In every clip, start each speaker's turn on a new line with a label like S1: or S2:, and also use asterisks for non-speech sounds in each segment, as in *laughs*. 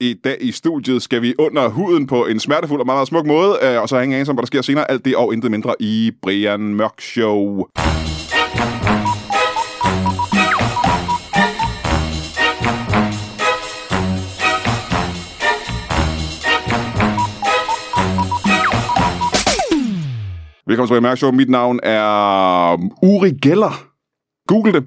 S1: I dag i studiet skal vi under huden på en smertefuld og meget, meget smuk måde, øh, og så hænge af som, hvad der sker senere. Alt det og intet mindre i Brian Mørk Show. Velkommen til Brian Mørk Show. Mit navn er um, Uri Geller. Google det.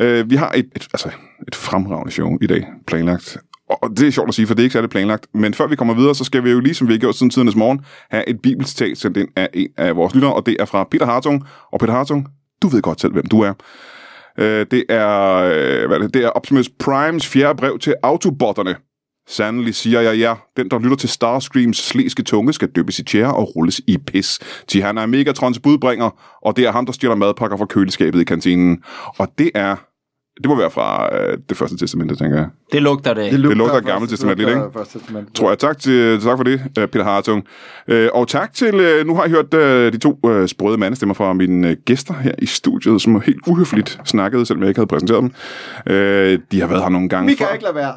S1: Øh, vi har et, et, altså, et fremragende show i dag, planlagt. Og og det er sjovt at sige, for det er ikke særlig planlagt. Men før vi kommer videre, så skal vi jo, ligesom vi har gjort siden tidernes morgen, have et bibelcitat sendt ind af en af vores lyttere, og det er fra Peter Hartung. Og Peter Hartung, du ved godt selv, hvem du er. Øh, det er, øh, hvad er, det? det er Optimus Primes fjerde brev til Autobotterne. Sandelig siger jeg ja. Den, der lytter til Starscreams slæske tunge, skal døbes i tjære og rulles i pis. Til han er Megatrons budbringer, og det er ham, der stjæler madpakker fra køleskabet i kantinen. Og det er... Det må være fra øh, det første testamente, tænker jeg.
S2: Det lugter det af.
S1: lugter af Gammelt Testament lidt, ikke? Tror jeg. Tak, til, tak for det, øh, Peter Hartung. Øh, Og tak til... øh, Nu har I hørt øh, de to øh, sprøde mandestemmer fra mine øh, gæster her i studiet, som helt uhøfligt snakkede, selvom jeg ikke havde præsenteret dem. Øh, De har været her nogle gange
S3: Vi
S1: før.
S3: kan ikke lade være.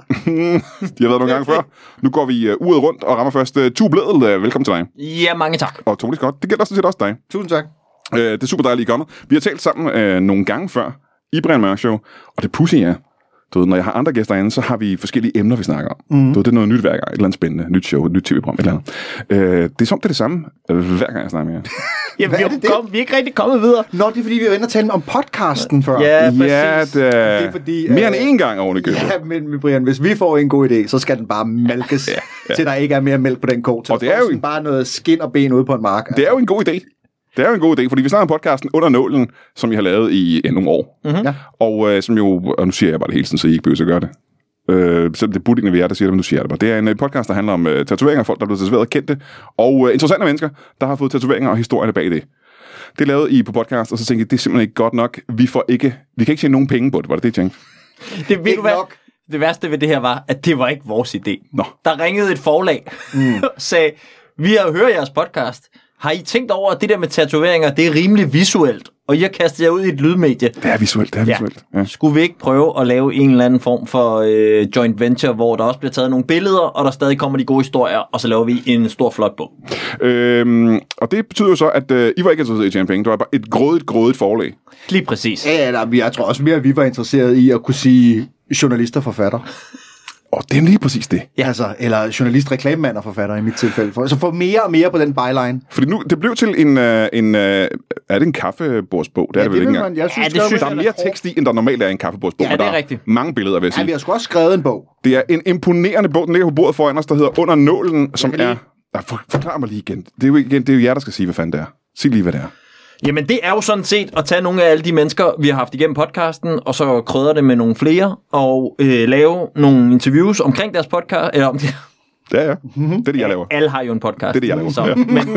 S1: De har været nogle gange før. Nu går vi øh, uret rundt og rammer først uh, Tue Bledel. Øh, velkommen til dig.
S2: Ja, mange tak.
S1: Og Tone Scott, det gælder sådan set også dig.
S3: Tusind tak.
S1: Uh, det er super dejligt, at I er kommet. Vi har talt sammen uh, nogle gange før i Brian Mørk Show, og det pudsige er, du ved, når jeg har andre gæster inde, så har vi forskellige emner, vi snakker om.
S3: Mhm.
S1: Mm. Du ved, det er noget nyt hver gang. Et eller andet spændende, nyt show, et nyt tv-program, et eller andet. Øh, det er som det er det samme, øh, hver gang jeg snakker med jer.
S2: Jamen, vi,
S3: er
S2: er
S3: det, det-
S2: kom, vi er ikke rigtig kommet videre.
S3: Nå, det er fordi, vi var inde og tale om podcasten før.
S1: ja, det,
S3: Det er fordi,
S1: Mere
S3: øh,
S1: end én gang oven i købet.
S3: Ja, men men Brian, hvis vi får en god idé, så skal den bare malkes, *laughs* ja, ja. til der ikke er mere mælk på den ko. Til
S1: Og
S3: der
S1: det er
S3: står
S1: jo
S3: sådan
S1: en-
S3: bare noget skin og ben ude på en mark.
S1: Det er jo en god idé. Det er jo en god idé, fordi vi snakker om podcasten Under Nålen, som jeg har lavet i ja, nogle år. Mm-hmm.
S3: Ja.
S1: Og øh, som jo, og nu siger jeg bare det hele tiden, så I ikke behøver at gøre det. Øh, selvom det er buddingene ved jer, der siger det, men nu siger jeg det bare. Det er en øh, podcast, der handler om øh, tatoveringer, folk, der er blevet tatoveret kendte, og øh, interessante mennesker, der har fået tatoveringer og historierne bag det. Det lavede I på podcast, og så tænkte jeg, det er simpelthen ikke godt nok. Vi, får ikke, vi kan ikke tjene nogen penge på det, var det det, jeg tænkte?
S2: Det, ved
S3: Ikke
S2: du hvad?
S3: nok.
S2: det værste ved det her var, at det var ikke vores idé.
S1: Nå.
S2: Der ringede et forlag mm. og *laughs* sagde, vi har hørt jeres podcast. Har I tænkt over, at det der med tatoveringer, det er rimelig visuelt, og I har kastet jer ud i et lydmedie?
S1: Det er visuelt, det er visuelt. Ja.
S2: Skulle vi ikke prøve at lave en eller anden form for øh, joint venture, hvor der også bliver taget nogle billeder, og der stadig kommer de gode historier, og så laver vi en stor flot bog?
S1: Øhm, og det betyder jo så, at øh, I var ikke interesseret i at tjene penge. Det var bare et grådigt, grådigt forlag.
S2: Lige præcis.
S3: Ja, ja, nej, jeg tror også mere, at vi var interesseret i at kunne sige journalist og forfatter.
S1: Og det er lige præcis det.
S3: Ja. Altså, eller journalist, reklamemand og forfatter i mit tilfælde. For, så få mere og mere på den byline.
S1: Fordi nu, det blev til en, øh, en øh, er det en kaffebordsbog? Det er ja, det vel
S3: vil
S1: ikke engang.
S3: man, jeg synes, ja, det
S2: synes
S3: synes
S1: Der er mere tekst i, end der normalt er i en kaffebordsbog.
S2: Ja,
S1: men
S2: det er
S1: der
S2: rigtigt.
S1: mange billeder, vil jeg
S3: Ja, vi
S1: sige.
S3: har sgu også skrevet en bog.
S1: Det er en imponerende bog, den ligger på bordet foran os, der hedder Under Nålen, som
S3: kan
S1: er...
S3: lige-
S1: Ja, for, forklar mig lige igen. Det er, jo igen. det er jo jer, der skal sige, hvad fanden det er. Sig lige, hvad det er.
S2: Jamen, det er jo sådan set at tage nogle af alle de mennesker, vi har haft igennem podcasten, og så krydre det med nogle flere, og øh, lave nogle interviews omkring deres podcast. Eller om de,
S1: Ja, ja.
S3: Mhm.
S1: Det er det, jeg laver.
S2: alle har jo en podcast.
S1: Det er det, jeg laver.
S2: Så,
S1: Ja.
S2: men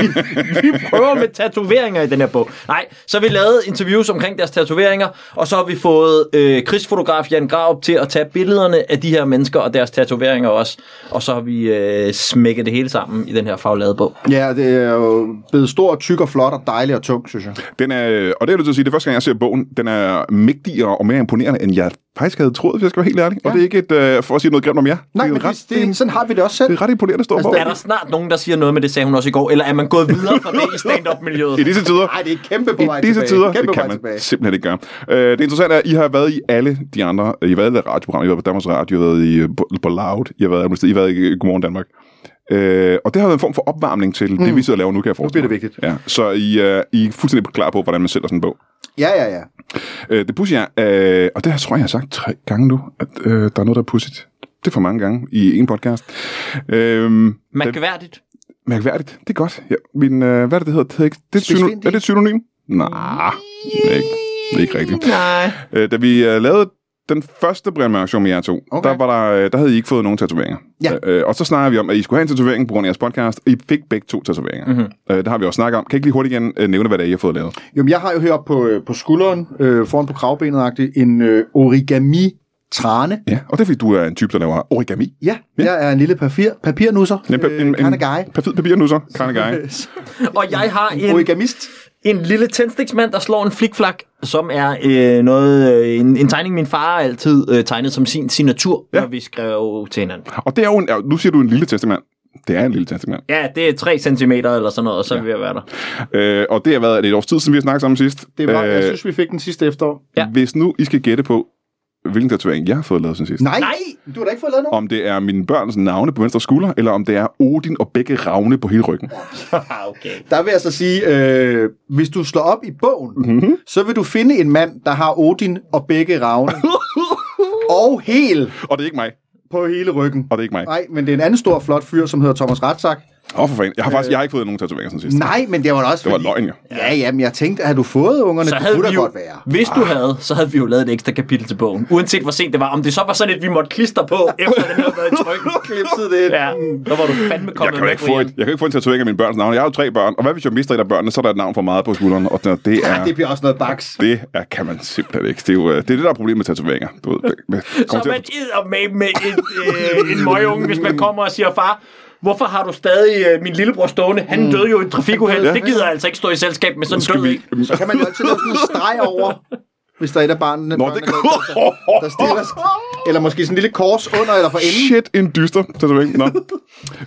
S2: vi, vi prøver med tatoveringer i den her bog. Nej, så har vi lavet interviews omkring deres tatoveringer, og så har vi fået øh, krigsfotograf Jan Graup til at tage billederne af de her mennesker og deres tatoveringer også. Og så har vi øh, smækket det hele sammen i den her faglavede bog.
S3: Ja, det er jo blevet stor, tyk og flot og dejlig og tung, synes jeg.
S1: Den er, og det er jeg nødt til at sige, det er første gang, jeg ser bogen. Den er mægtigere og mere imponerende, end jeg faktisk havde troet, hvis jeg skal være helt ærlig. Ja. Og det er ikke et, øh, for at sige noget grimt om jer.
S3: Nej,
S1: det er en
S3: men
S1: ret,
S3: det, Altså, det, sådan har vi det også selv.
S1: det er ret imponerende stor bog.
S2: *laughs* Er der snart nogen, der siger noget med det, sagde hun også i går, eller er man gået videre fra det i
S1: *laughs*
S2: stand-up-miljøet?
S1: I disse tider.
S3: Nej, det er kæmpe på vej
S1: I disse
S3: tilbage.
S1: tider,
S3: Kæmpe
S1: det
S3: på
S1: kan
S3: vej
S1: man
S3: tilbage.
S1: simpelthen ikke gøre. Øh, det interessante er, at I har været i alle de andre, I har været i alle radioprogrammer, I har været på Danmarks Radio, I har været i, øh, på, på Loud, I har været, alle mulige steder. I har været i Godmorgen Danmark. Øh, og det har været en form for opvarmning til mm. det, vi sidder og laver nu, kan jeg forestille
S3: bliver
S1: mig.
S3: det vigtigt.
S1: Ja, så I, øh, I er fuldstændig klar på, hvordan man sælger sådan en bog.
S3: Ja, ja, ja.
S1: Øh, det pudsige er, øh, og det har, tror jeg, jeg har sagt tre gange nu, at øh, der er noget, der er pudsigt. Det er for mange gange i en podcast. Øh,
S2: Mærkværdigt.
S1: Mærkværdigt. Det er godt. Ja, min, øh, hvad er det, det hedder? Det er, ikke, det er, et synonym,
S3: Spidsfindig?
S1: er det et synonym? Nej, det er ikke, det er ikke rigtigt.
S2: Nej.
S1: Øh, da vi øh, lavede den første Brian Mørk Show med jer to, okay.
S3: Okay.
S1: der, var der, øh, der havde I ikke fået nogen tatoveringer.
S3: Ja.
S1: Øh, og så snakker vi om, at I skulle have en tatovering på grund af jeres podcast, og I fik begge to tatoveringer.
S3: Mhm.
S1: Mm-hmm. Øh, det har vi også snakket om. Kan I ikke lige hurtigt igen øh, nævne, hvad det er, I har fået lavet?
S3: Jamen, jeg har jo heroppe på, øh, på skulderen, øh, foran på kravbenet, en øh, origami-trane.
S1: Ja, og det er, fordi du er en type, der laver origami.
S3: Ja, jeg er en lille papir, papirnusser.
S1: En, pa-
S3: Øh, kind of guy. *laughs*
S1: Perfid papir nu så. Karne guy.
S2: Og jeg har en,
S3: Origamist.
S2: en lille tændstiksmand, der slår en flikflak, som er øh, noget, øh, en, en tegning, min far altid øh, tegnede som sin signatur, ja. når vi skrev til hinanden.
S1: Og det er jo en, ja, nu siger du en lille testament. Det er en lille testament.
S2: Ja, det er 3 cm eller sådan noget, og så er vi ved at være der.
S1: Øh, og det har været er det et års tid, siden vi har snakket sammen sidst.
S3: Det var,
S1: øh,
S3: jeg synes, vi fik den sidste efterår.
S2: Ja.
S1: Hvis nu I skal gætte på, hvilken tatovering jeg har fået lavet siden sidst.
S3: Nej,
S2: Nej!
S3: du har da ikke fået lavet noget.
S1: Om det er mine børns navne på venstre skulder, eller om det er Odin og begge ravne på hele ryggen.
S2: Ah, okay.
S3: Der vil jeg så sige, øh, hvis du slår op i bogen, mm-hmm. så vil du finde en mand, der har Odin og begge
S1: *laughs*
S3: ravne. og hel
S1: Og det er ikke mig.
S3: på hele ryggen.
S1: Og det er ikke mig.
S3: Nej, men det er en anden stor, flot fyr, som hedder Thomas Ratzak.
S1: Åh, oh, for fanden. Jeg har faktisk jeg har ikke fået nogen tatoveringer siden sidst.
S3: Nej, men det var da også
S1: Det var løgn, jo.
S3: Ja, ja, men jeg tænkte, har du fået ungerne?
S2: Så
S3: det
S2: havde
S3: kunne
S2: vi
S3: da
S2: jo,
S3: godt være.
S2: hvis du havde, så havde vi jo lavet et ekstra kapitel til bogen. Uanset hvor sent det var. Om det så var sådan et, vi måtte klister på, efter den havde været i trykken.
S3: Klipsede det.
S2: Ja, der var du fandme
S1: Jeg
S2: kommet
S1: kan, jo
S2: med,
S1: ikke få et,
S2: Brian.
S1: jeg kan jo ikke få en tatovering af mine børns navne. Jeg har jo tre børn, og hvad hvis jeg mister et af børnene, så er der et navn for meget på skulderen, og det det
S3: Ja,
S1: er...
S3: det bliver også noget baks.
S1: Det er, kan man simpelthen ikke. Det er jo øh, det, er det der er problemet med tatoveringer. Du ved, det- det kommer
S2: Så
S1: til
S2: man
S1: at,
S2: idder med, med et, øh, en møgeunge, hvis man kommer og siger, far, hvorfor har du stadig øh, min lillebror stående? Han døde jo i et trafikuheld.
S1: Mm. Ja.
S2: Det gider jeg altså ikke stå i selskab med sådan en død.
S1: vi-
S2: Vi...
S3: Så kan man jo altid lave sådan en streg over, hvis der er et af barnene,
S1: Nå,
S3: børnene,
S1: det *laughs*
S3: der, der stiller sig. Eller måske sådan en lille kors under eller for enden.
S1: Shit, en dyster tatovering.
S3: *laughs*
S1: Nå.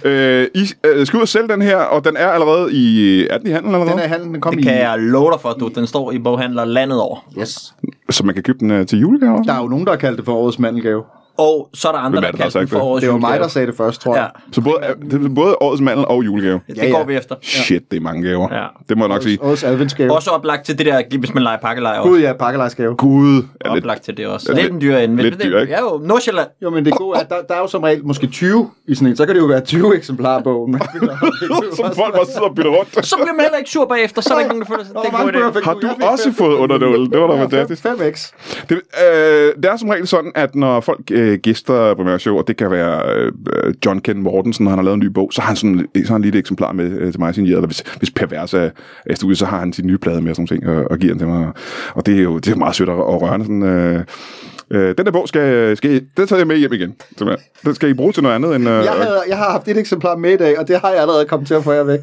S1: øh, I øh, skal ud og sælge den her, og den er allerede i... Er den i handel allerede?
S3: Den er handlen, den kom
S2: Det
S3: i.
S2: kan jeg love dig for, du. Den står i boghandler landet over.
S3: Yes.
S1: Så man kan købe den øh, til julegave?
S3: Der er jo nogen, der har kaldt det for årets mandelgave.
S2: Og så er der andre,
S1: Hvem er
S2: der
S1: det, der har
S2: kalder den
S1: sagt
S2: for
S1: det?
S2: årets
S3: Det var mig,
S2: julegave.
S3: der sagde det først, tror
S2: Ja,
S3: jeg.
S1: Så både, øh, det er både årets mandel og julegave?
S2: det
S3: Ja,
S2: går
S3: ja.
S2: vi efter.
S1: Shit, det er mange gaver.
S2: Ja.
S1: Det må jeg nok sige.
S3: Årets adventsgave.
S2: Også oplagt til det der, hvis man leger pakkelejer også.
S3: Gud, ja, pakkelejsgave.
S1: Gud. Er lidt,
S2: oplagt til det også.
S1: Ja,
S2: lidt,
S1: lidt-
S2: en dyrere end. men
S1: lidt
S2: det-
S1: dyrere, ikke?
S2: Ja jo, Nordsjælland.
S3: Jo, men det gode er, der, der er jo som regel måske 20 i sådan en. Så kan det jo være 20 eksemplarer på.
S1: *laughs* som folk bare sidder og bytter rundt.
S2: Så bliver man heller ikke sur bagefter, så er der ikke nogen, der føler sig. Det er en god idé.
S1: Har du også fået undernålen? Det var da fantastisk.
S3: 5x.
S1: Det, øh, det er som regel sådan, at når folk øh, gæster på Show, og det kan være øh, øh, John Ken Mortensen, når han har lavet en ny bog, så har han sådan, så har han lige et eksemplar med øh, til mig signeret, eller hvis, hvis Pervers er er i studiet, så har han sin nye plade med og sådan nogle ting, og, og giver den til mig. Og det er jo det er meget sødt og, og rørende. Sådan, øh, øh, den der bog, skal, skal, I- den tager jeg med hjem igen. simpelthen. Den skal I bruge til noget andet end... Øh,
S3: Jeg, havde, jeg har haft et eksemplar med i dag, og det har jeg allerede kommet til at få jer
S1: *laughs*
S3: væk.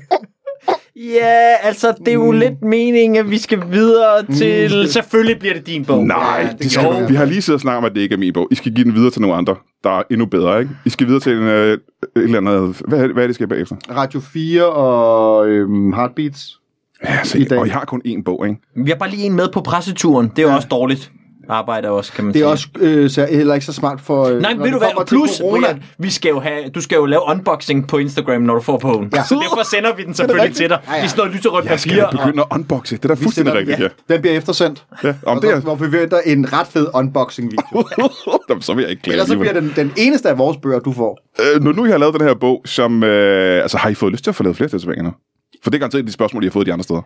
S2: Ja, altså, det er jo
S3: Mm.
S2: lidt meningen, at vi skal videre til... Selvfølgelig bliver det din bog.
S1: Nej,
S2: ja,
S1: ja, det skal
S2: gør
S1: vi.
S2: det.
S1: Vi har lige siddet og snakket om, at det ikke er min bog. I skal give den videre til nogle andre, der er endnu bedre, ikke? I skal videre til en, øh, et eller andet... Hvad, er det- hvad er det, I skal bagefter?
S3: Radio 4 og øhm, Heartbeats.
S1: Ja,
S3: I
S1: se,
S3: dag.
S1: og I har kun én bog, ikke?
S2: Vi har bare lige en med på presseturen. Det er jo også dårligt arbejde også, kan man
S3: Det er
S2: sige.
S3: også øh, så heller ikke så smart for... Øh,
S2: Nej,
S3: når
S2: men ved
S3: det
S2: du hvad?
S3: kommer til
S2: Plus,
S3: corona.
S2: Brian, vi skal jo have, du skal jo lave unboxing på Instagram, når du får bogen. Ja. Så derfor sender
S3: *laughs*
S2: vi den selvfølgelig til dig.
S3: Ja, ja.
S2: I sådan noget lyserødt
S1: Jeg skal
S2: papir.
S1: da begynde at unboxe. Det er da fuldstændig rigtigt, ja.
S3: Den bliver eftersendt.
S1: ja. Om
S3: Og
S1: det
S3: der,
S1: er...
S3: hvor vi venter en ret fed
S1: *laughs*
S3: unboxing-video.
S1: Nå, så vil jeg ikke klage
S3: Ellers så bliver
S1: alligevel.
S3: den, den eneste af vores bøger, du får.
S1: Øh, når nu I har lavet den her bog, som... Øh, altså, har I fået lyst til at få lavet flere tatoveringer nu? For det er garanteret de spørgsmål, I har fået de andre steder.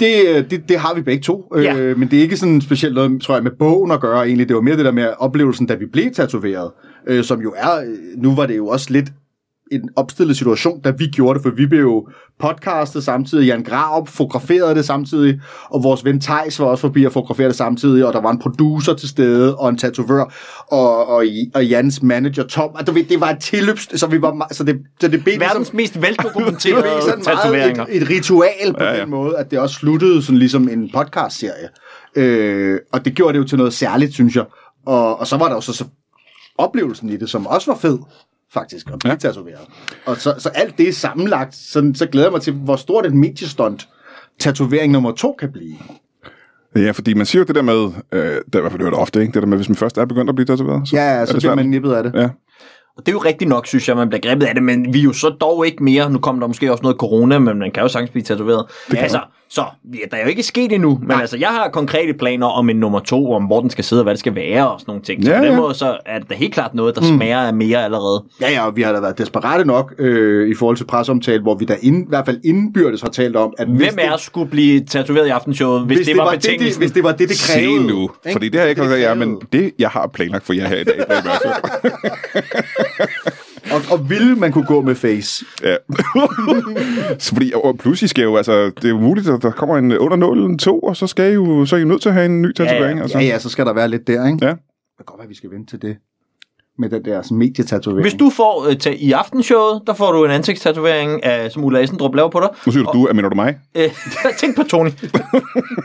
S3: Det, øh, det, det har vi begge to,
S2: Ja.
S3: øh, men det er ikke sådan specielt noget, tror jeg, med bogen at gøre egentlig. Det var mere det der med oplevelsen, da vi blev tatoveret, øh, som jo er, øh, nu var det jo også lidt en opstillet situation, da vi gjorde det, for vi blev jo podcastet samtidig, Jan Graup fotograferede det samtidig, og vores ven Tejs var også forbi og fotograferede det samtidig, og der var en producer til stede, og en tatovør, og, og, og Jans manager Tom, og du ved, det var et tilløbs, så, vi var, me- så det, så det blev ligesom-
S2: Verdens
S3: *laughs*
S2: mest
S3: det var
S2: veldokumenterede
S3: sådan meget
S2: tatoveringer.
S3: et, et ritual
S1: Ja,
S3: på ja,
S1: ja.
S3: ja. den måde, at det også sluttede sådan ligesom en podcast-serie. Øh, og det gjorde det jo til noget særligt, synes jeg. Og, og så var der jo så, så oplevelsen i det, som også var fed, faktisk, at blive
S1: Ja.
S3: ja. tatoveret. Og så, så alt det sammenlagt, så, så glæder jeg mig til, hvor stort et mediestunt tatovering nummer to kan blive.
S1: Ja, fordi man siger jo det der med... Øh, det har jeg i hvert fald hørt ofte, ikke? Det der med, hvis man først er begyndt at blive tatoveret, så
S3: Ja,
S1: er
S3: ja, så
S1: det
S3: bliver
S1: svært.
S3: man nippet af det.
S1: Ja.
S2: Og det er jo rigtigt nok, synes jeg, man bliver grebet af det, men vi er jo så dog ikke mere. Nu kom der måske også noget corona, men man kan jo sagtens blive tatoveret. Altså, så ja, der er jo ikke sket endnu, men altså, jeg har konkrete planer om en nummer to, om hvor den skal sidde, og hvad det skal være og sådan nogle ting. Så
S1: Ja,
S2: på den
S1: ja.
S2: måde, så er det da helt klart noget, der smager af mere allerede.
S3: Ja, ja, og vi har da været desperate nok øh, i forhold til presseomtale, hvor vi da ind, i hvert fald indbyrdes har talt om, at hvis
S2: Hvem
S3: det-
S2: er skulle blive tatoveret i aftenshowet, hvis, hvis det, var, var
S3: det, det,
S2: betingelsen?
S3: hvis det var det, det
S1: Se
S3: krævede.
S1: nu.
S3: ikke?
S1: Fordi det har jeg ikke
S3: Det
S1: sagt, ja,
S3: krævede.
S1: men det, jeg har planlagt for jer her i dag. Det er i hvert fald-
S3: *laughs* Og, og ville man kunne gå med face?
S1: Ja. så fordi, og pludselig skal jo, altså, det er jo muligt, at der kommer en under nålen to, og så skal I jo, så er I jo nødt til at have en ny tatovering.
S2: ja.
S1: altså.
S3: Ja, ja, så skal der være lidt der, ikke?
S1: Ja.
S3: Det kan godt være, vi skal vente til det. med den der sådan, medietatovering.
S2: Hvis du får øh, til, i aftenshowet, der får du en ansigtstatovering, af, som Ulla Essendrup laver på dig.
S1: Nu siger du, du, mener du mig?
S2: Øh, *laughs* tænk på Tony.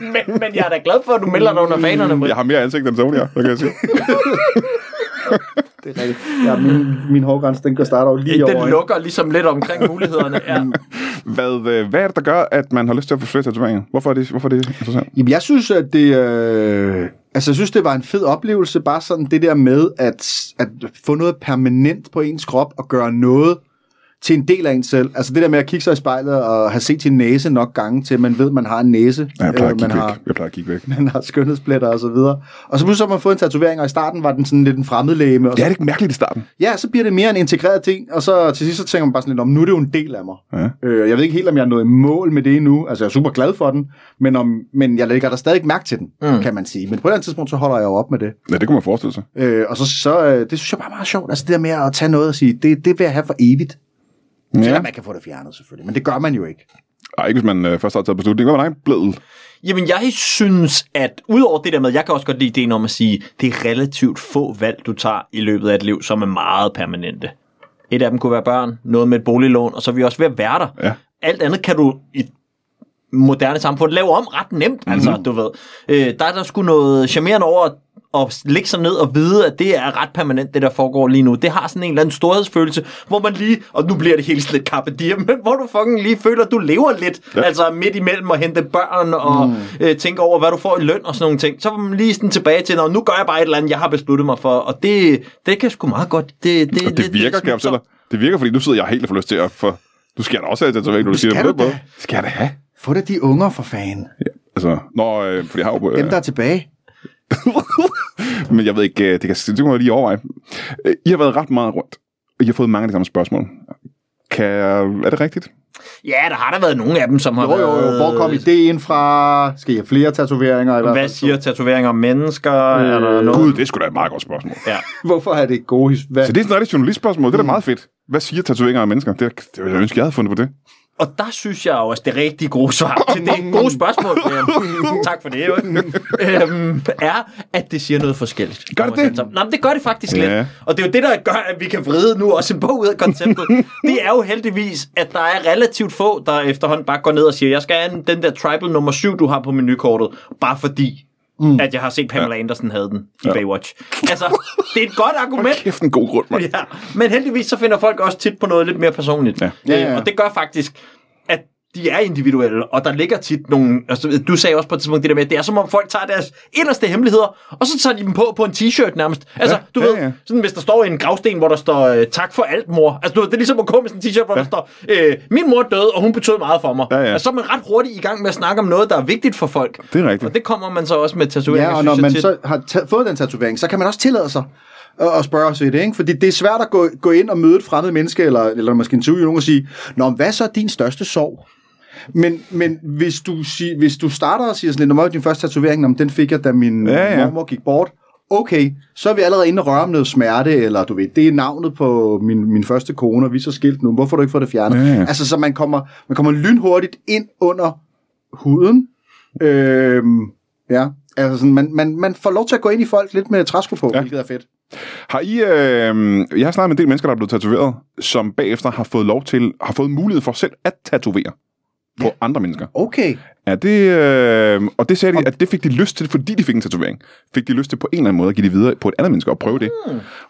S2: men, men jeg er da glad for, at du melder dig under fanerne. Britt.
S1: Jeg har mere ansigt end Sonja, der kan jeg sige. *laughs*
S3: Det er rigtigt. Ja, min, min hårgrænse, den kan starte over lige over.
S2: Den lukker ligesom lidt omkring mulighederne. Ja.
S1: Hvad, øh, hvad er det, der gør, at man har lyst til at få flere tatoveringer? Hvorfor er det, hvorfor er det interessant?
S3: Jamen, jeg synes, at det... Øh, altså, jeg synes, det var en fed oplevelse, bare sådan det der med at, at få noget permanent på ens krop og gøre noget til en del af en selv. Altså det der med at kigge sig i spejlet og have set sin næse nok gange til, man ved, man har en næse. øh,
S1: Ja, jeg plejer at
S3: man,
S1: kigge
S3: har,
S1: væk. Jeg plejer at kigge væk.
S3: man har skønhedspletter og så videre. Og så pludselig har man fået en tatovering, og i starten var den sådan lidt en fremmedlæme. Og
S1: Ja,
S3: så,
S1: det er ikke mærkeligt i starten.
S3: ja, så bliver det mere en integreret ting, og så til sidst så tænker man bare sådan lidt, om nu er det jo en del af mig.
S1: Ja.
S3: Øh, jeg ved ikke helt, om jeg er nået i mål med det endnu. Altså, jeg er super glad for den, men, om, men jeg lægger der stadig mærke til den, mm. kan man sige. Men på et eller andet tidspunkt, så holder jeg jo op med det.
S1: Ja, det kunne man forestille sig.
S3: Øh, og så, så øh, det synes jeg bare er meget sjovt. Altså, det der med at tage noget og sige, det, det vil jeg have for evigt. Ja. Selvom man kan få det fjernet, selvfølgelig. Men det gør man jo ikke.
S1: Ej, ikke hvis man øh, først har taget beslutningen. Hvad var dig blevet?
S2: Jamen, jeg synes, at udover det der med, jeg kan også godt lide ideen om at sige, det er relativt få valg, du tager i løbet af et liv, som er meget permanente. Et af dem kunne være børn, noget med et boliglån, og så er vi også ved at være der.
S1: Ja.
S2: Alt andet kan du i moderne samfund lave om ret nemt, altså, mm. du ved. Øh, der er der sgu noget charmerende over at, at lægge sig ned og vide, at det er ret permanent, det der foregår lige nu. Det har sådan en eller anden storhedsfølelse, hvor man lige, og nu bliver det helt lidt kappedier, *laughs* men hvor du fucking lige føler, at du lever lidt, ja. altså midt imellem at hente børn og mm. øh, tænke over, hvad du får i løn og sådan nogle ting. Så var man lige sådan tilbage til, "Nå, nu gør jeg bare et eller andet, jeg har besluttet mig for, og det, det kan sgu meget godt. Det, det,
S1: Og det virker, kan jeg fortælle dig. Det virker, fordi nu sidder jeg helt og får lyst til at få... Du skal jeg da også have tatovering, når du siger det
S3: skal
S1: på den
S3: du
S1: måde.
S3: da.
S1: Skal jeg da have?
S3: Få da de unger for fanden. Ja.
S1: Altså, nå, øh, fordi jeg har jo... Øh,
S3: Dem, der er tilbage.
S1: *laughs* Men jeg ved ikke, øh, det kan, det kan man lige overveje. Øh, I har været ret meget rundt, og I har fået mange af de samme spørgsmål. Kan, er det rigtigt?
S2: Ja, der har der været nogle af dem, som har
S3: Jo, jo, jo.
S2: været-
S3: Hvor kom ideen fra? Skal I have flere tatoveringer? I hvert
S2: Hvad
S3: fald?
S2: siger tatoveringer om mennesker? Øh, er der noget?
S1: Gud, det er sgu da et meget godt spørgsmål.
S2: Ja.
S3: Hvorfor er det ikke gode his- Hvad?
S1: Så det er sådan et journalistspørgsmål. Det er da meget fedt. Hvad siger tatoveringer af mennesker? Det, er- det ville jeg ønske, jeg havde fundet på det.
S2: Og der synes jeg jo også, det rigtig gode svar til det gode spørgsmål, øhm, tak for det, jo, øhm, er, at det siger noget forskelligt.
S1: Gør det det?
S2: Nej, men det gør det faktisk
S1: Ja.
S2: lidt. Og det er jo det, der gør, at vi kan vride nu også en bog ud af konceptet. det er jo heldigvis, at der er relativt få, der efterhånden bare går ned og siger, jeg skal have en- den der tribal nummer 7, du har på menukortet, bare fordi Mm. at jeg har set Pamela Andersen havde den i ja. Baywatch. Altså, det er et godt argument,
S1: Kæft en god grund, mand.
S2: *laughs* Ja, men heldigvis så finder folk også tit på noget lidt mere personligt. Ja.
S3: Ja, ja,
S2: Øh,
S3: ja.
S2: og det gør faktisk, at de er individuelle, og der ligger tit nogle... Altså, du sagde også på et tidspunkt det der med, at det er som om folk tager deres inderste hemmeligheder, og så tager de dem på på en t-shirt nærmest. Altså,
S1: Ja,
S2: du
S1: ja,
S2: ved,
S1: ja.
S2: sådan hvis der står en gravsten, hvor der står, øh, tak for alt, mor. Altså, du ved, det er ligesom at komme med sådan en t-shirt, hvor ja. der står, øh, min mor døde, og hun betød meget for mig.
S1: Ja, ja.
S2: Altså, så er man ret hurtigt i gang med at snakke om noget, der er vigtigt for folk.
S1: Det er rigtigt.
S2: Og det kommer man så også med tatoveringer,
S3: Ja, og
S2: synes
S3: når
S2: jeg
S3: man
S2: tit.
S3: så har ta- fået den tatovering, så kan man også tillade sig at- at spørge sig i det, ikke? Fordi det er svært at gå, gå ind og møde et fremmed menneske, eller, eller måske interviewe nogen og sige, Nå, men hvad så er din største sorg? Men, men hvis, du sig, hvis du starter og siger sådan lidt, når din første tatovering, Nå, men den fik jeg, da min
S1: Ja,
S3: ja,
S1: ja.
S3: ja. mormor gik bort, okay, så er vi allerede inde og røre om noget smerte, eller du ved, det er navnet på min, min første kone, og vi er så skilt nu, hvorfor har du ikke fået det fjernet?
S1: Ja, ja.
S3: Altså, så man kommer, man kommer lynhurtigt ind under huden. Øhm, ja, altså sådan, man, man, man får lov til at gå ind i folk lidt med træsko på, ja. hvilket er fedt.
S1: Har I, øh, jeg har snakket med en del mennesker, der er blevet tatoveret, som bagefter har fået lov til, har fået mulighed for selv at tatovere på andre mennesker.
S3: Okay.
S1: Ja, det, øh, og det sagde de, at det fik de lyst til, fordi de fik en tatovering. Fik de lyst til på en eller anden måde at give det videre på et andet menneske og prøve det.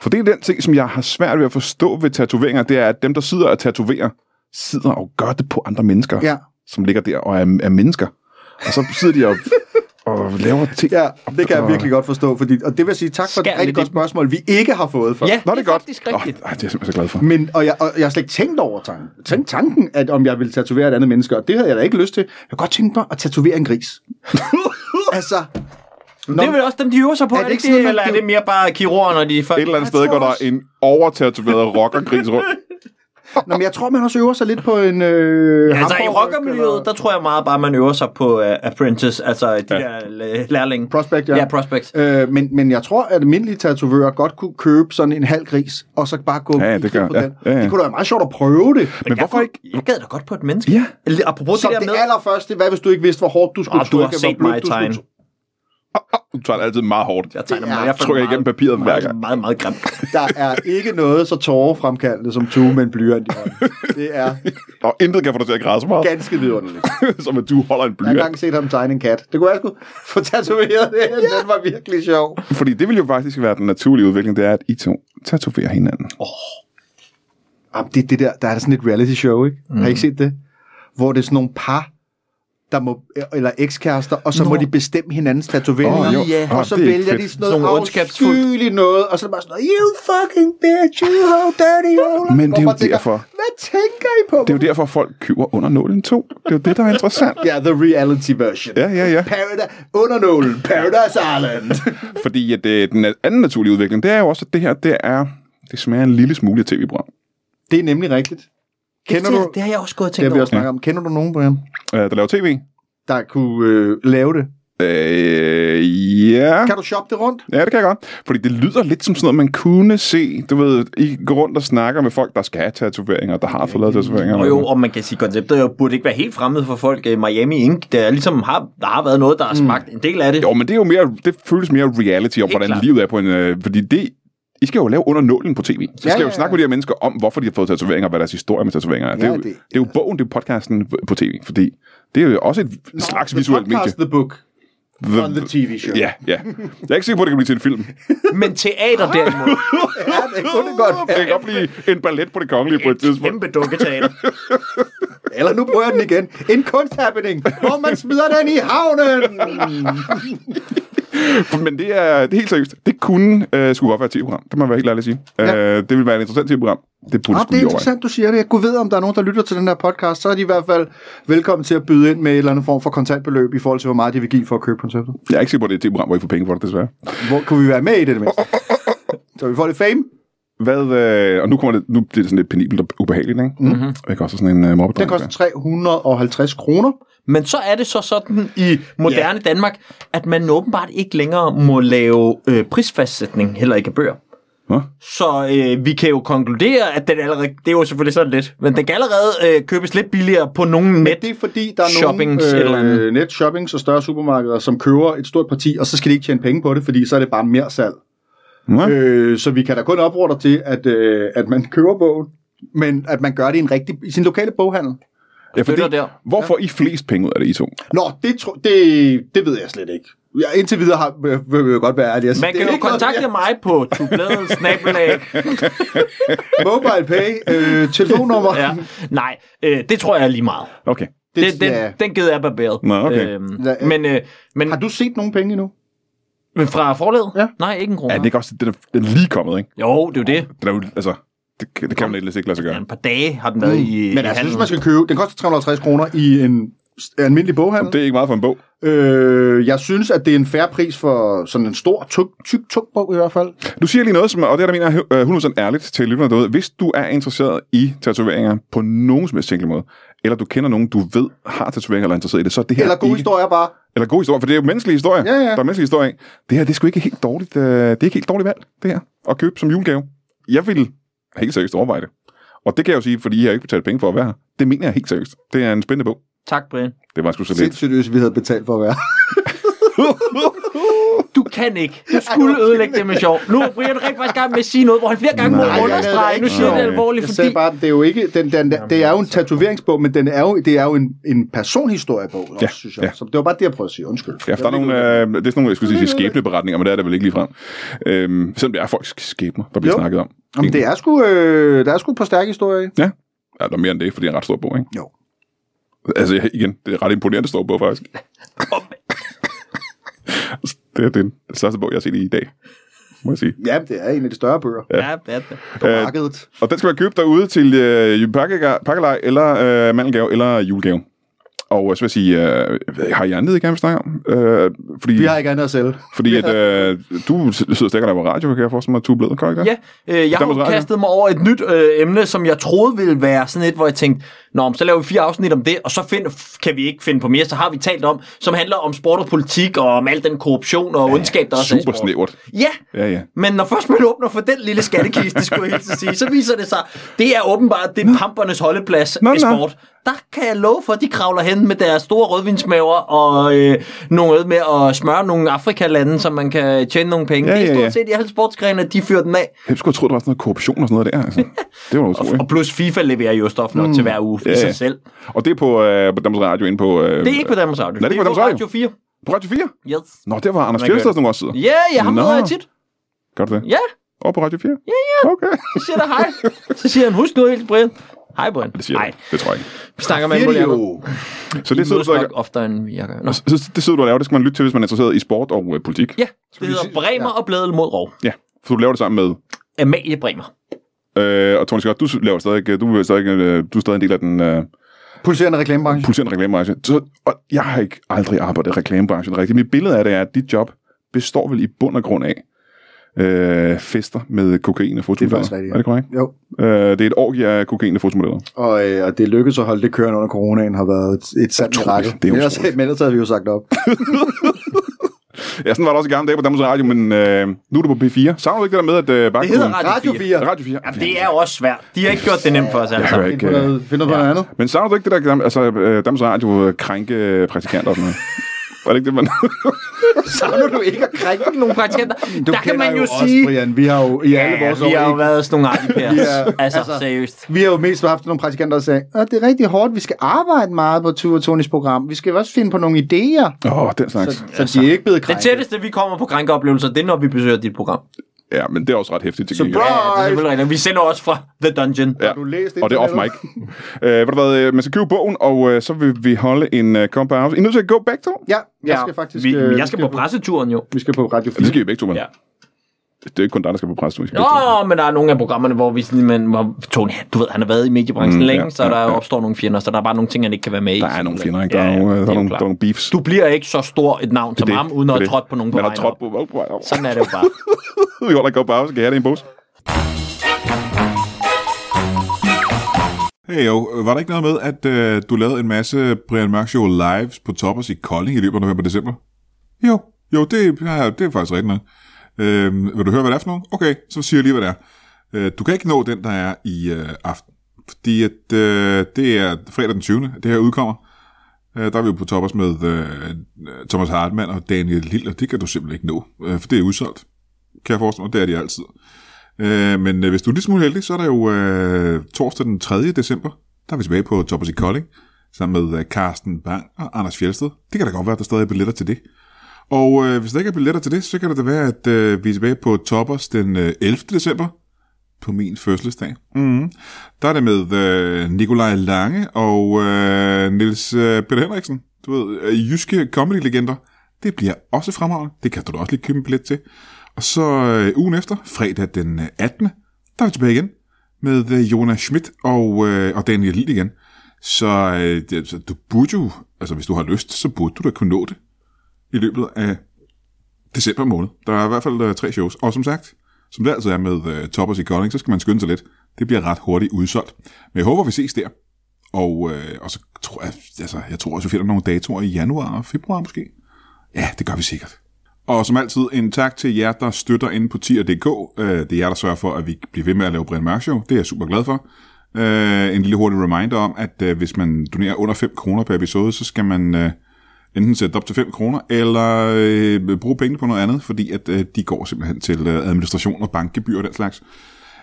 S1: For det er den ting, som jeg har svært ved at forstå ved tatoveringer, det er, at dem, der sidder og tatoverer, sidder og gør det på andre mennesker,
S3: Ja.
S1: som ligger der og er, er mennesker. Og så sidder de og, og laver ting.
S3: Ja, det kan jeg virkelig godt forstå. Fordi, og det vil jeg sige tak for
S2: Skær
S3: et rigtig
S2: lidt
S3: godt
S2: i den.
S3: spørgsmål, vi ikke har fået før.
S2: Ja,
S1: Nå, det er, godt.
S2: faktisk rigtigt.
S1: Åh, ej, det er jeg simpelthen så glad for.
S3: Men, og, jeg, og jeg har slet ikke tænkt over tanken. Tænk tanken, at om jeg ville tatovere et andet menneske, og det havde jeg da ikke lyst til. Jeg kunne godt tænke mig at tatovere en
S2: *laughs*
S3: gris. altså,
S2: Nå, det er vel også dem, de øver sig på, er det ikke sådan,
S3: at
S2: eller er
S3: det-
S2: det mere bare kirurger, når de...
S1: Et eller andet
S3: Jeg
S1: sted
S3: tror
S1: går der
S3: også-
S1: en overtatoveret rockergris rundt.
S3: nå, men jeg tror, man også øver sig lidt på en... Øh,
S2: Ja, altså i
S3: hamburgerryg
S2: rockermiljøet,
S3: eller
S2: der tror jeg meget bare, man øver sig på uh, apprentice, altså de ja. der øh, lærlinge.
S3: Prospect, ja.
S2: ja. Ja, prospect.
S3: Øh, men, men jeg tror, at almindelige tatovører godt kunne købe sådan en halv gris, og så bare gå
S1: Ja, ja,
S3: i
S1: det
S3: krig
S1: gør-
S3: på
S1: ja,
S3: den.
S1: ja, ja.
S3: Det kunne da være meget sjovt at prøve det.
S1: Men hvorfor ikke?
S2: Jeg gad da godt på et menneske.
S1: Ja.
S2: Eller Apropos
S3: Som
S2: det der
S3: det
S2: med...
S3: allerførste, hvad hvis du ikke vidste, hvor hårdt du skulle
S2: Arh, du har
S3: trykke, hvor
S2: set
S3: blødt
S2: mig
S3: du skulle
S2: tegne.
S3: trykke?
S1: Du tager det altid meget hårdt.
S2: Jeg tegner
S3: Det er-
S2: meget. Jeg
S1: trykker igennem papiret hver gang.
S2: Meget, meget, meget grimt.
S3: Der er ikke noget så tårerfremkaldende som tue med en blyant i
S2: *laughs*
S3: hånden. Det er
S1: Og intet kan få dig til at græde så meget,
S3: ganske vidunderligt.
S1: *laughs* som at du holder en
S3: Jeg har
S1: blyant.
S3: engang set ham tegne en kat. Det kunne jeg sgu få tatoveret det. Ja. Den var virkelig sjov.
S1: Fordi det vil jo faktisk være den naturlige udvikling, det er, at I to tatoverer hinanden.
S3: Jamen, det, er det der, der er sådan et reality show, ikke? Mm. Har I ikke set det? Hvor det er sådan nogle par, der må, eller ekskærester, og så Nå. må de bestemme hinandens
S1: Åh,
S3: tatoveringer.
S1: jo.
S3: Oh, ja.
S1: Åh,
S3: Og så
S1: det er
S3: vælger
S1: fedt.
S3: de sådan
S2: Sådan
S3: noget
S2: nogle ondskabsfuldt.
S3: afskyeligt noget, og så er det bare sådan noget, you fucking bitch, you hoe, dirty hoe.
S1: Men det er jo
S3: Hvor man tænker,
S1: derfor.
S3: Hvad tænker I på?
S1: Det er jo derfor, folk køber under nålen to. Det er jo det, der er interessant.
S3: Ja, the reality version.
S1: Ja, ja, ja.
S3: Paradise, undernålen, Paradise Island.
S1: Fordi at, øh, den anden naturlige udvikling, det er jo også, at det her, det er... Det smager en lille smule af tv-program.
S3: det er nemlig rigtigt. Kender
S2: det,
S3: du,
S2: det har jeg også gået og
S3: det har
S2: tænkt
S3: vi
S2: over.
S3: også snakket om. Kender du nogen, Brian,
S1: Øh, der laver tv.
S3: der kunne øh, lave det?
S1: Øh, ja.
S3: Kan du shoppe det rundt?
S1: Ja, det kan jeg godt. Fordi det lyder lidt som sådan noget, man kunne se. Du ved, I går rundt og snakker med folk, der skal have tatoveringer, der har fået lavet tatoveringer.
S2: Og jo, og man kan sige, konceptet jo burde ikke være helt fremmed for folk. Øh, Miami Ink, der ligesom har, der har været noget, der har smagt en del af det.
S1: jo, men det er jo mere, det føles mere reality om,
S2: Helt
S1: hvordan
S2: klart.
S1: livet er på en... Øh, fordi det, I skal jo lave under nålen på tv. I skal
S3: ja,
S1: jo
S3: ja.
S1: snakke med de her mennesker om, hvorfor de har fået tatoveringer, og hvad deres historie med tatoveringer er. det, er
S3: Ja,
S1: jo, det,
S3: det-
S1: det er jo bogen, det er podcasten på tv, fordi det er jo også et slags
S3: The
S1: visuelt medie.
S3: podcast, The book.
S1: The-
S3: on the TV show.
S1: Ja, ja. Jeg er ikke sikker på, at det kan blive til en film.
S2: Men teater derimod,
S3: ja det kunne det godt.
S1: Det kan godt blive en ballet på det kongelige på et
S2: et
S1: tidspunkt.
S2: kæmpe dukketeater.
S3: Eller nu bruger jeg den igen. En kunsthappening, hvor man smider den i havnen.
S1: Men det er, det er helt seriøst. Det kunne øh, skulle godt være et tv-program. Det må jeg være helt ærlig at sige. Ja.
S3: Ja.
S1: Øh, det ville være et interessant tv-program. Det burde
S3: Nå,
S1: skulle
S3: det er
S1: lige overveje.
S3: interessant, du siger det. Jeg kunne vide, om der er nogen, der lytter til den her podcast, så er de i hvert fald velkommen til at byde ind med et eller andet form for kontantbeløb i forhold til, hvor meget de vil give for at købe konceptet.
S1: Jeg er ikke sikker på, at det er et tv-program, hvor I får penge for det, desværre.
S3: Hvor kunne vi være med i det, det mindste? Så vi får lidt fame.
S1: Hvad, øh, og nu, kommer det, nu bliver det sådan lidt penibelt og ubehageligt, ikke? Mm-hmm. Hvad koster sådan en øh, mobbedreng?
S3: Den koster 350 kroner.
S2: Men så er det så sådan i moderne yeah. Danmark, at man åbenbart ikke længere må lave øh, prisfastsætning, heller ikke af bøger.
S1: Hå?
S2: Så øh, vi kan jo konkludere, at den allerede, det er jo selvfølgelig sådan lidt, men den kan allerede øh, købes lidt billigere på nogle net.
S3: Det er fordi, der er
S2: Shoppings, et eller
S3: nogle
S2: andet.
S3: øh, netshoppings og større supermarkeder, som køber et stort parti, og så skal de ikke tjene penge på det, fordi så er det bare mere salg.
S1: Nå,
S3: Øh, så vi kan da kun opfordre til, at, øh, at man køber bogen, men at man gør det i, en rigtig, i sin lokale boghandel.
S1: ja, fordi,
S2: flytter der.
S1: Hvor får I flest penge ud af det, I to?
S3: Nå, det, tro, det, det ved jeg slet ikke. Jeg, indtil videre har, vil, vil jeg godt være ærlig. Altså,
S2: Man kan jo kontakte
S3: mig.
S2: mig på tubladet
S3: *laughs* Mobile Pay, øh,
S2: *laughs*
S3: telefonnummer.
S2: ja. Nej, øh, det tror jeg er lige meget.
S1: Okay.
S2: Det, det, den,
S3: ja.
S2: den gider jeg barberet.
S1: Nå, okay.
S2: Øhm,
S3: Ja, ja.
S2: men, øh, men,
S3: Har du set nogen penge endnu?
S2: men fra forlaget?
S3: Ja.
S2: Nej, ikke en krone.
S1: Er den ikke også den er, den er lige kommet, ikke?
S2: Jo, det er jo det.
S1: Den er jo, altså, det, kan- det kan man lidt ikke lade sig
S2: Ja,
S1: gøre.
S2: et par dage har den været mm. i
S3: Men altså,
S2: i
S3: jeg synes,
S2: handlen.
S3: man skal købe. Den koster 350 kroner i en s- almindelig boghandel.
S1: Det er ikke meget for en bog.
S3: Øh, jeg synes, at det er en færre pris for sådan en stor, tyk, tyk, tyk bog i hvert fald.
S1: Du siger lige noget, som, og det er der mener jeg øh, 100% ærligt til lytterne derude. Hvis du er interesseret i tatoveringer på nogen som helst tænkelig måde, eller du kender nogen, du ved har tatoveringer eller er interesseret i det, så er det her
S3: Eller gode
S1: ikke,
S3: historier bare.
S1: Eller god historie, for det er jo menneskelige historier.
S3: Ja, ja.
S1: Der er menneskelige historier. i. Det her, det er sgu ikke helt dårligt. Øh, det er ikke helt dårligt valg, det her. At købe som julegave. Jeg vil helt seriøst overveje det. Og det kan jeg jo sige, fordi jeg har ikke betalt penge for at være her. Det mener jeg helt seriøst. Det er en spændende bog.
S2: Tak, Brian.
S1: Det var sgu så
S3: *laughs*
S1: lidt.
S3: Sindssygt, hvis vi havde betalt for at være.
S2: Du kan ikke. Du skulle ødelægge det med sjov. Nu er Brian rigtig faktisk i gang med at sige noget, hvor han flere gange må
S1: Nej,
S2: understrege. Nu siger jeg det
S1: Nej.
S2: alvorligt,
S3: Jeg
S2: fordi...
S3: sagde bare, det er jo ikke, den, den, den, det er jo en
S1: altså-
S3: tatoveringsbog, men den er jo, det er jo en, en personhistoriebog, også,
S1: Ja,
S3: synes jeg.
S1: ja.
S3: Så det var bare det, jeg prøvede at sige. Undskyld.
S1: Ja, for der er nogle, øh, det er sådan nogle, jeg skulle sige, skæbneberetninger, men det er der vel ikke ligefrem. Øhm, selvom det er folks skæbner, der bliver
S3: Jo.
S1: snakket om.
S3: Jamen, det er sgu, øh, der er sgu på stærke historier i.
S1: Ja, ja der er mere end det, fordi det er en ret stor bog, ikke?
S3: Jo.
S1: Altså jeg- igen, det er ret imponerende stor bog, faktisk. det er den største bog, jeg har set i dag, må jeg sige.
S3: Ja, det er en af de større bøger
S2: Ja, ja, ja.
S3: på
S1: Øh,
S3: markedet.
S1: Og den skal man købe derude til øh, pakkega- pakkelej, eller øh, mandelgave, eller julegave. Og øh, så vil jeg sige, øh, har I andet, I gerne vil snakke om? Øh, fordi,
S3: Vi har ikke andet at sælge.
S1: fordi at, øh, du sidder og stikker der på radio, kan jeg forestille mig, at du er blevet, kan du ikke det?
S2: Ja, øh, jeg har
S1: Danmarks
S2: jo
S1: Radio.
S2: kastet mig over et nyt øh, emne, som jeg troede ville være sådan et, hvor jeg tænkte, Nå, men så laver vi fire afsnit om det, og så find, f- kan vi ikke finde på mere, så har vi talt om, som handler om sport og politik, og om al den korruption og ondskab, der også er i
S1: Super
S2: sport.
S1: snævert.
S2: Ja,
S1: Ja, ja.
S2: men når først man åbner for den lille skattekiste, skulle jeg helt sige, så viser det sig, det er åbenbart, det er pampernes holdeplads
S1: Nå,
S2: i
S1: nå.
S2: sport. der kan jeg love for, at de kravler hen med deres store rødvinsmaver og øh, noget med at smøre nogle afrikalande, så man kan tjene nogle penge.
S4: Ja,
S2: Ja, det er
S4: ja,
S2: stort
S4: ja.
S2: set i alle sportsgrene, at de fyrer den af.
S4: Jeg skulle have troet, der var sådan noget korruption og sådan noget der.
S2: *laughs*
S4: Altså. Det var
S2: Og,
S4: utroligt.
S2: og plus FIFA leverer jo stof nok mm. til hver uge ja,
S4: Ja,
S2: i
S4: ja.
S2: sig selv.
S4: Og det er på, øh, på Danmarks Radio inde på... Øh,
S2: Det er ikke på Danmarks Radio.
S4: Nej, det er ikke på Danmarks
S2: Radio 4.
S4: På Radio 4?
S2: Yes.
S4: Nå, der var Anders
S2: Man gør
S4: Fjeldsted, som også sidder.
S2: Ja, jeg har
S4: Nå.
S2: møder jeg tit.
S4: Gør du det?
S2: Ja,
S4: Og på Radio 4? Ja, ja. Okay.
S2: så siger der hej.
S4: *laughs*
S2: Så siger han, husk nu helt Brian. Hej Brian.
S4: Det siger
S2: Nej,
S4: jeg. Det tror jeg ikke.
S2: vi snakker med
S3: Fire
S2: Brian.
S3: jo.
S4: Så Altså, det sidder,
S2: Det
S4: du
S2: er
S4: og-
S2: nok oftere, end vi gør. Nå.
S4: så, så det sidder du og laver. Det skal man lytte til, hvis man er interesseret i sport og øh, politik.
S2: Ja, det
S3: vi
S2: hedder
S3: sige-
S2: Bremer og Blædel mod Rov.
S4: Ja. For du laver det sammen med...
S2: Amalie Bremer.
S4: Øh, og Tony Scott, du laver stadig, øh, du er stadig, øh, du er stadig en del af den øh,
S3: Pulserende reklamebranche.
S4: pulserende reklamebranche. Så, og jeg har ikke aldrig arbejdet i reklamebranchen rigtigt. Mit billede af det er, at dit job består vel i bund og grund af øh, fester med kokain og fotomodeller.
S3: faktisk rigtigt, ja.
S4: Er det korrekt?
S3: Jo.
S4: Øh, det er et orgie af kokain og fotomodeller.
S3: Og, øh, og det lykkedes at holde det kørende under coronaen har været et, et sandt
S4: Utroligt.
S3: mirakel.
S4: Det er
S3: Ellers,
S4: utroligt.
S3: men ellers havde vi jo sagt op.
S4: Ja, sådan var det også i gamle dage på Danmarks Radio, men øh, nu er du på P4. Savner du ikke det der med, at øh, bare
S2: Det hedder
S4: kunne-
S2: Radio
S3: Radio 4.
S4: Radio 4.
S2: Jamen, det er jo også svært. De har ikke gjort det nemt for os altså. alle
S4: Jeg hører
S2: sammen.
S4: ikke.
S3: Find på noget, find på noget *laughs* andet.
S4: Men savner du ikke det der, altså, øh, Danmarks Radio øh, krænke øh, praktikanter og sådan noget? Var det ikke det, man...
S3: Savner du ikke at krænke
S2: Ikke nogen praktikanter.
S3: Du
S2: der kan
S3: kender
S2: man jo,
S3: os,
S2: sige...
S3: Brian, vi har jo i alle
S2: Ja,
S3: vores
S2: vi
S3: år,
S2: har jo
S3: ikke?
S2: været sådan nogle artige
S3: Ja,
S2: Altså, altså,
S3: altså.
S2: seriøst.
S3: Vi har jo mest haft nogle praktikanter, der sagde, at det er rigtig hårdt, vi skal arbejde meget på Tue og Tonys program. Vi skal også finde på nogle idéer,
S4: Åh, oh, den slags.
S3: så, så de er ikke blevet
S2: Det
S3: krænket.
S2: tætteste, vi kommer på krænkeoplevelser, det er, når vi besøger dit program. Ja,
S4: Ja, men det er også ret hæftigt. til gengæld.
S3: Surprise!
S2: det er selvfølgelig rigtigt. Vi sender også fra The Dungeon.
S4: Ja.
S3: du læst
S4: og det er off mic. *laughs*
S3: internettet?
S4: Øh, ved du hvad, øh, man skal købe bogen, og øh, så vil vi holde en øh, compound house. I er nødt til at gå begge to?
S3: Ja, jeg skal faktisk...
S2: Vi,
S3: øh,
S2: jeg skal på presseturen jo.
S3: Vi skal på Radio 4.
S4: Det skal I begge to, mand.
S2: Ja.
S4: Ja. Det er ikke kun dig, der skal på pres, du skal begge to.
S2: Nå, men der er nogle af programmerne, hvor vi sådan, man, hvor Tony, han- du ved, han har været i mediebranchen
S4: Mm,
S2: længe,
S4: ja,
S2: så
S4: ja,
S2: der
S4: ja.
S2: opstår nogle fjender, så der er bare nogle ting, han ikke kan være med i.
S4: Der er nogle fjender, ikke? Der
S2: Ja,
S4: er,
S2: ja,
S4: nogle,
S2: det
S4: øh,
S2: er
S4: der
S2: jo
S4: er nogle, der
S2: klart.
S4: er nogle beefs.
S2: Du bliver ikke så stor et navn som
S4: Det-
S2: ham, uden at
S4: det-
S2: have trådt på nogen på
S4: Man har
S2: vejen.
S4: trådt
S2: op.
S4: på nogen på vejen. op.
S2: Sådan er det jo bare.
S4: Vi holder en compound house. Kan I have det i en pose?
S1: Hey jo, var der ikke noget med, at øh, du lavede en masse Brian Mørk Show lives på Toppers i Kolding i løbet af november og december? Jo, jo, det, ja, det er faktisk rigtigt nok. Øh, vil du høre, hvad det er for nogen? Okay, så siger jeg lige, hvad det er. Øh, du kan ikke nå den, der er i øh, aften, fordi at, øh, det er fredag den 20., at det her udkommer. Øh, der er vi jo på Toppers med øh, Thomas Hartmann og Daniel Lille, og det kan du simpelthen ikke nå, øh, for det er udsolgt. Kan jeg forestille mig, det er de altid. Øh, men øh, hvis du er lidt smule heldig, så er der jo øh, torsdag den 3. december, der er vi tilbage på Toppers i Kolding, sammen med øh, Carsten Bang og Anders Fjelsted. Det kan da godt være, at der stadig er billetter til det. Og øh, hvis der ikke er billetter til det, så kan det da være, at øh, vi er tilbage på Toppers den øh, 11. december, på min fødselsdag. Mm. Der er det med øh, Nikolaj Lange og øh, Nils øh, Peter Henriksen. Du ved, øh, jyske comedy-legender. Det bliver også fremragende. Det kan du da også lige købe en billet til. Og så øh, ugen efter, fredag den øh, 18., der er vi tilbage igen med øh, Jonas Schmidt og, øh, og Daniel Lille igen. Så øh, det, altså, du burde jo, altså hvis du har lyst, så burde du da kunne nå det i løbet af december måned. Der er i hvert fald øh, tre shows. Og som sagt, som det altid er med øh, toppers i Kolding, så skal man skynde sig lidt. Det bliver ret hurtigt udsolgt. Men jeg håber, vi ses der. Og, øh, og så tror jeg, altså, jeg tror også, vi finder nogle datoer i januar og februar måske. Ja, det gør vi sikkert. Og som altid, en tak til jer, der støtter inde på tier.dk. Øh, Det er jer, der sørger for, at vi bliver ved med at lave Brian Mørk Show. Det er jeg super glad for. Øh, En lille hurtig reminder om, at øh, hvis man donerer under 5 kroner per episode, så skal man øh, enten sætte det op til 5 kroner, eller øh, bruge pengene på noget andet, fordi at øh, de går simpelthen til øh, administration og bankgebyr og den slags.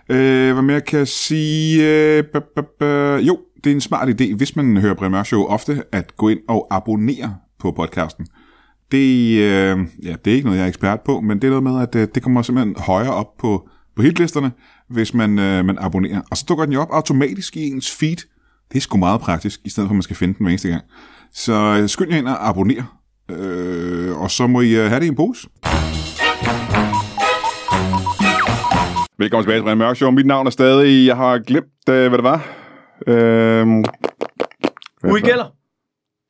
S1: Øh, hvad mere kan jeg sige? Øh, ba, ba, ba. Jo, det er en smart idé, hvis man hører Brian Mørk Show ofte, at gå ind og abonnere på podcasten. Det, øh, ja, det er ikke noget, jeg er ekspert på, men det er noget med, at øh, det kommer simpelthen højere op på, på hitlisterne, hvis man, øh, man abonnerer. Og så dukker den jo op automatisk i ens feed. Det er sgu meget praktisk, i stedet for at man skal finde den hver eneste gang. Så øh, skynd jer ind og abonner, øh, og så må I øh, have det i en pose.
S4: Velkommen tilbage til Brian Mørk Show. Mit navn er stadig... Jeg har glemt, øh, hvad det var. Øhm,
S2: Ui gælder.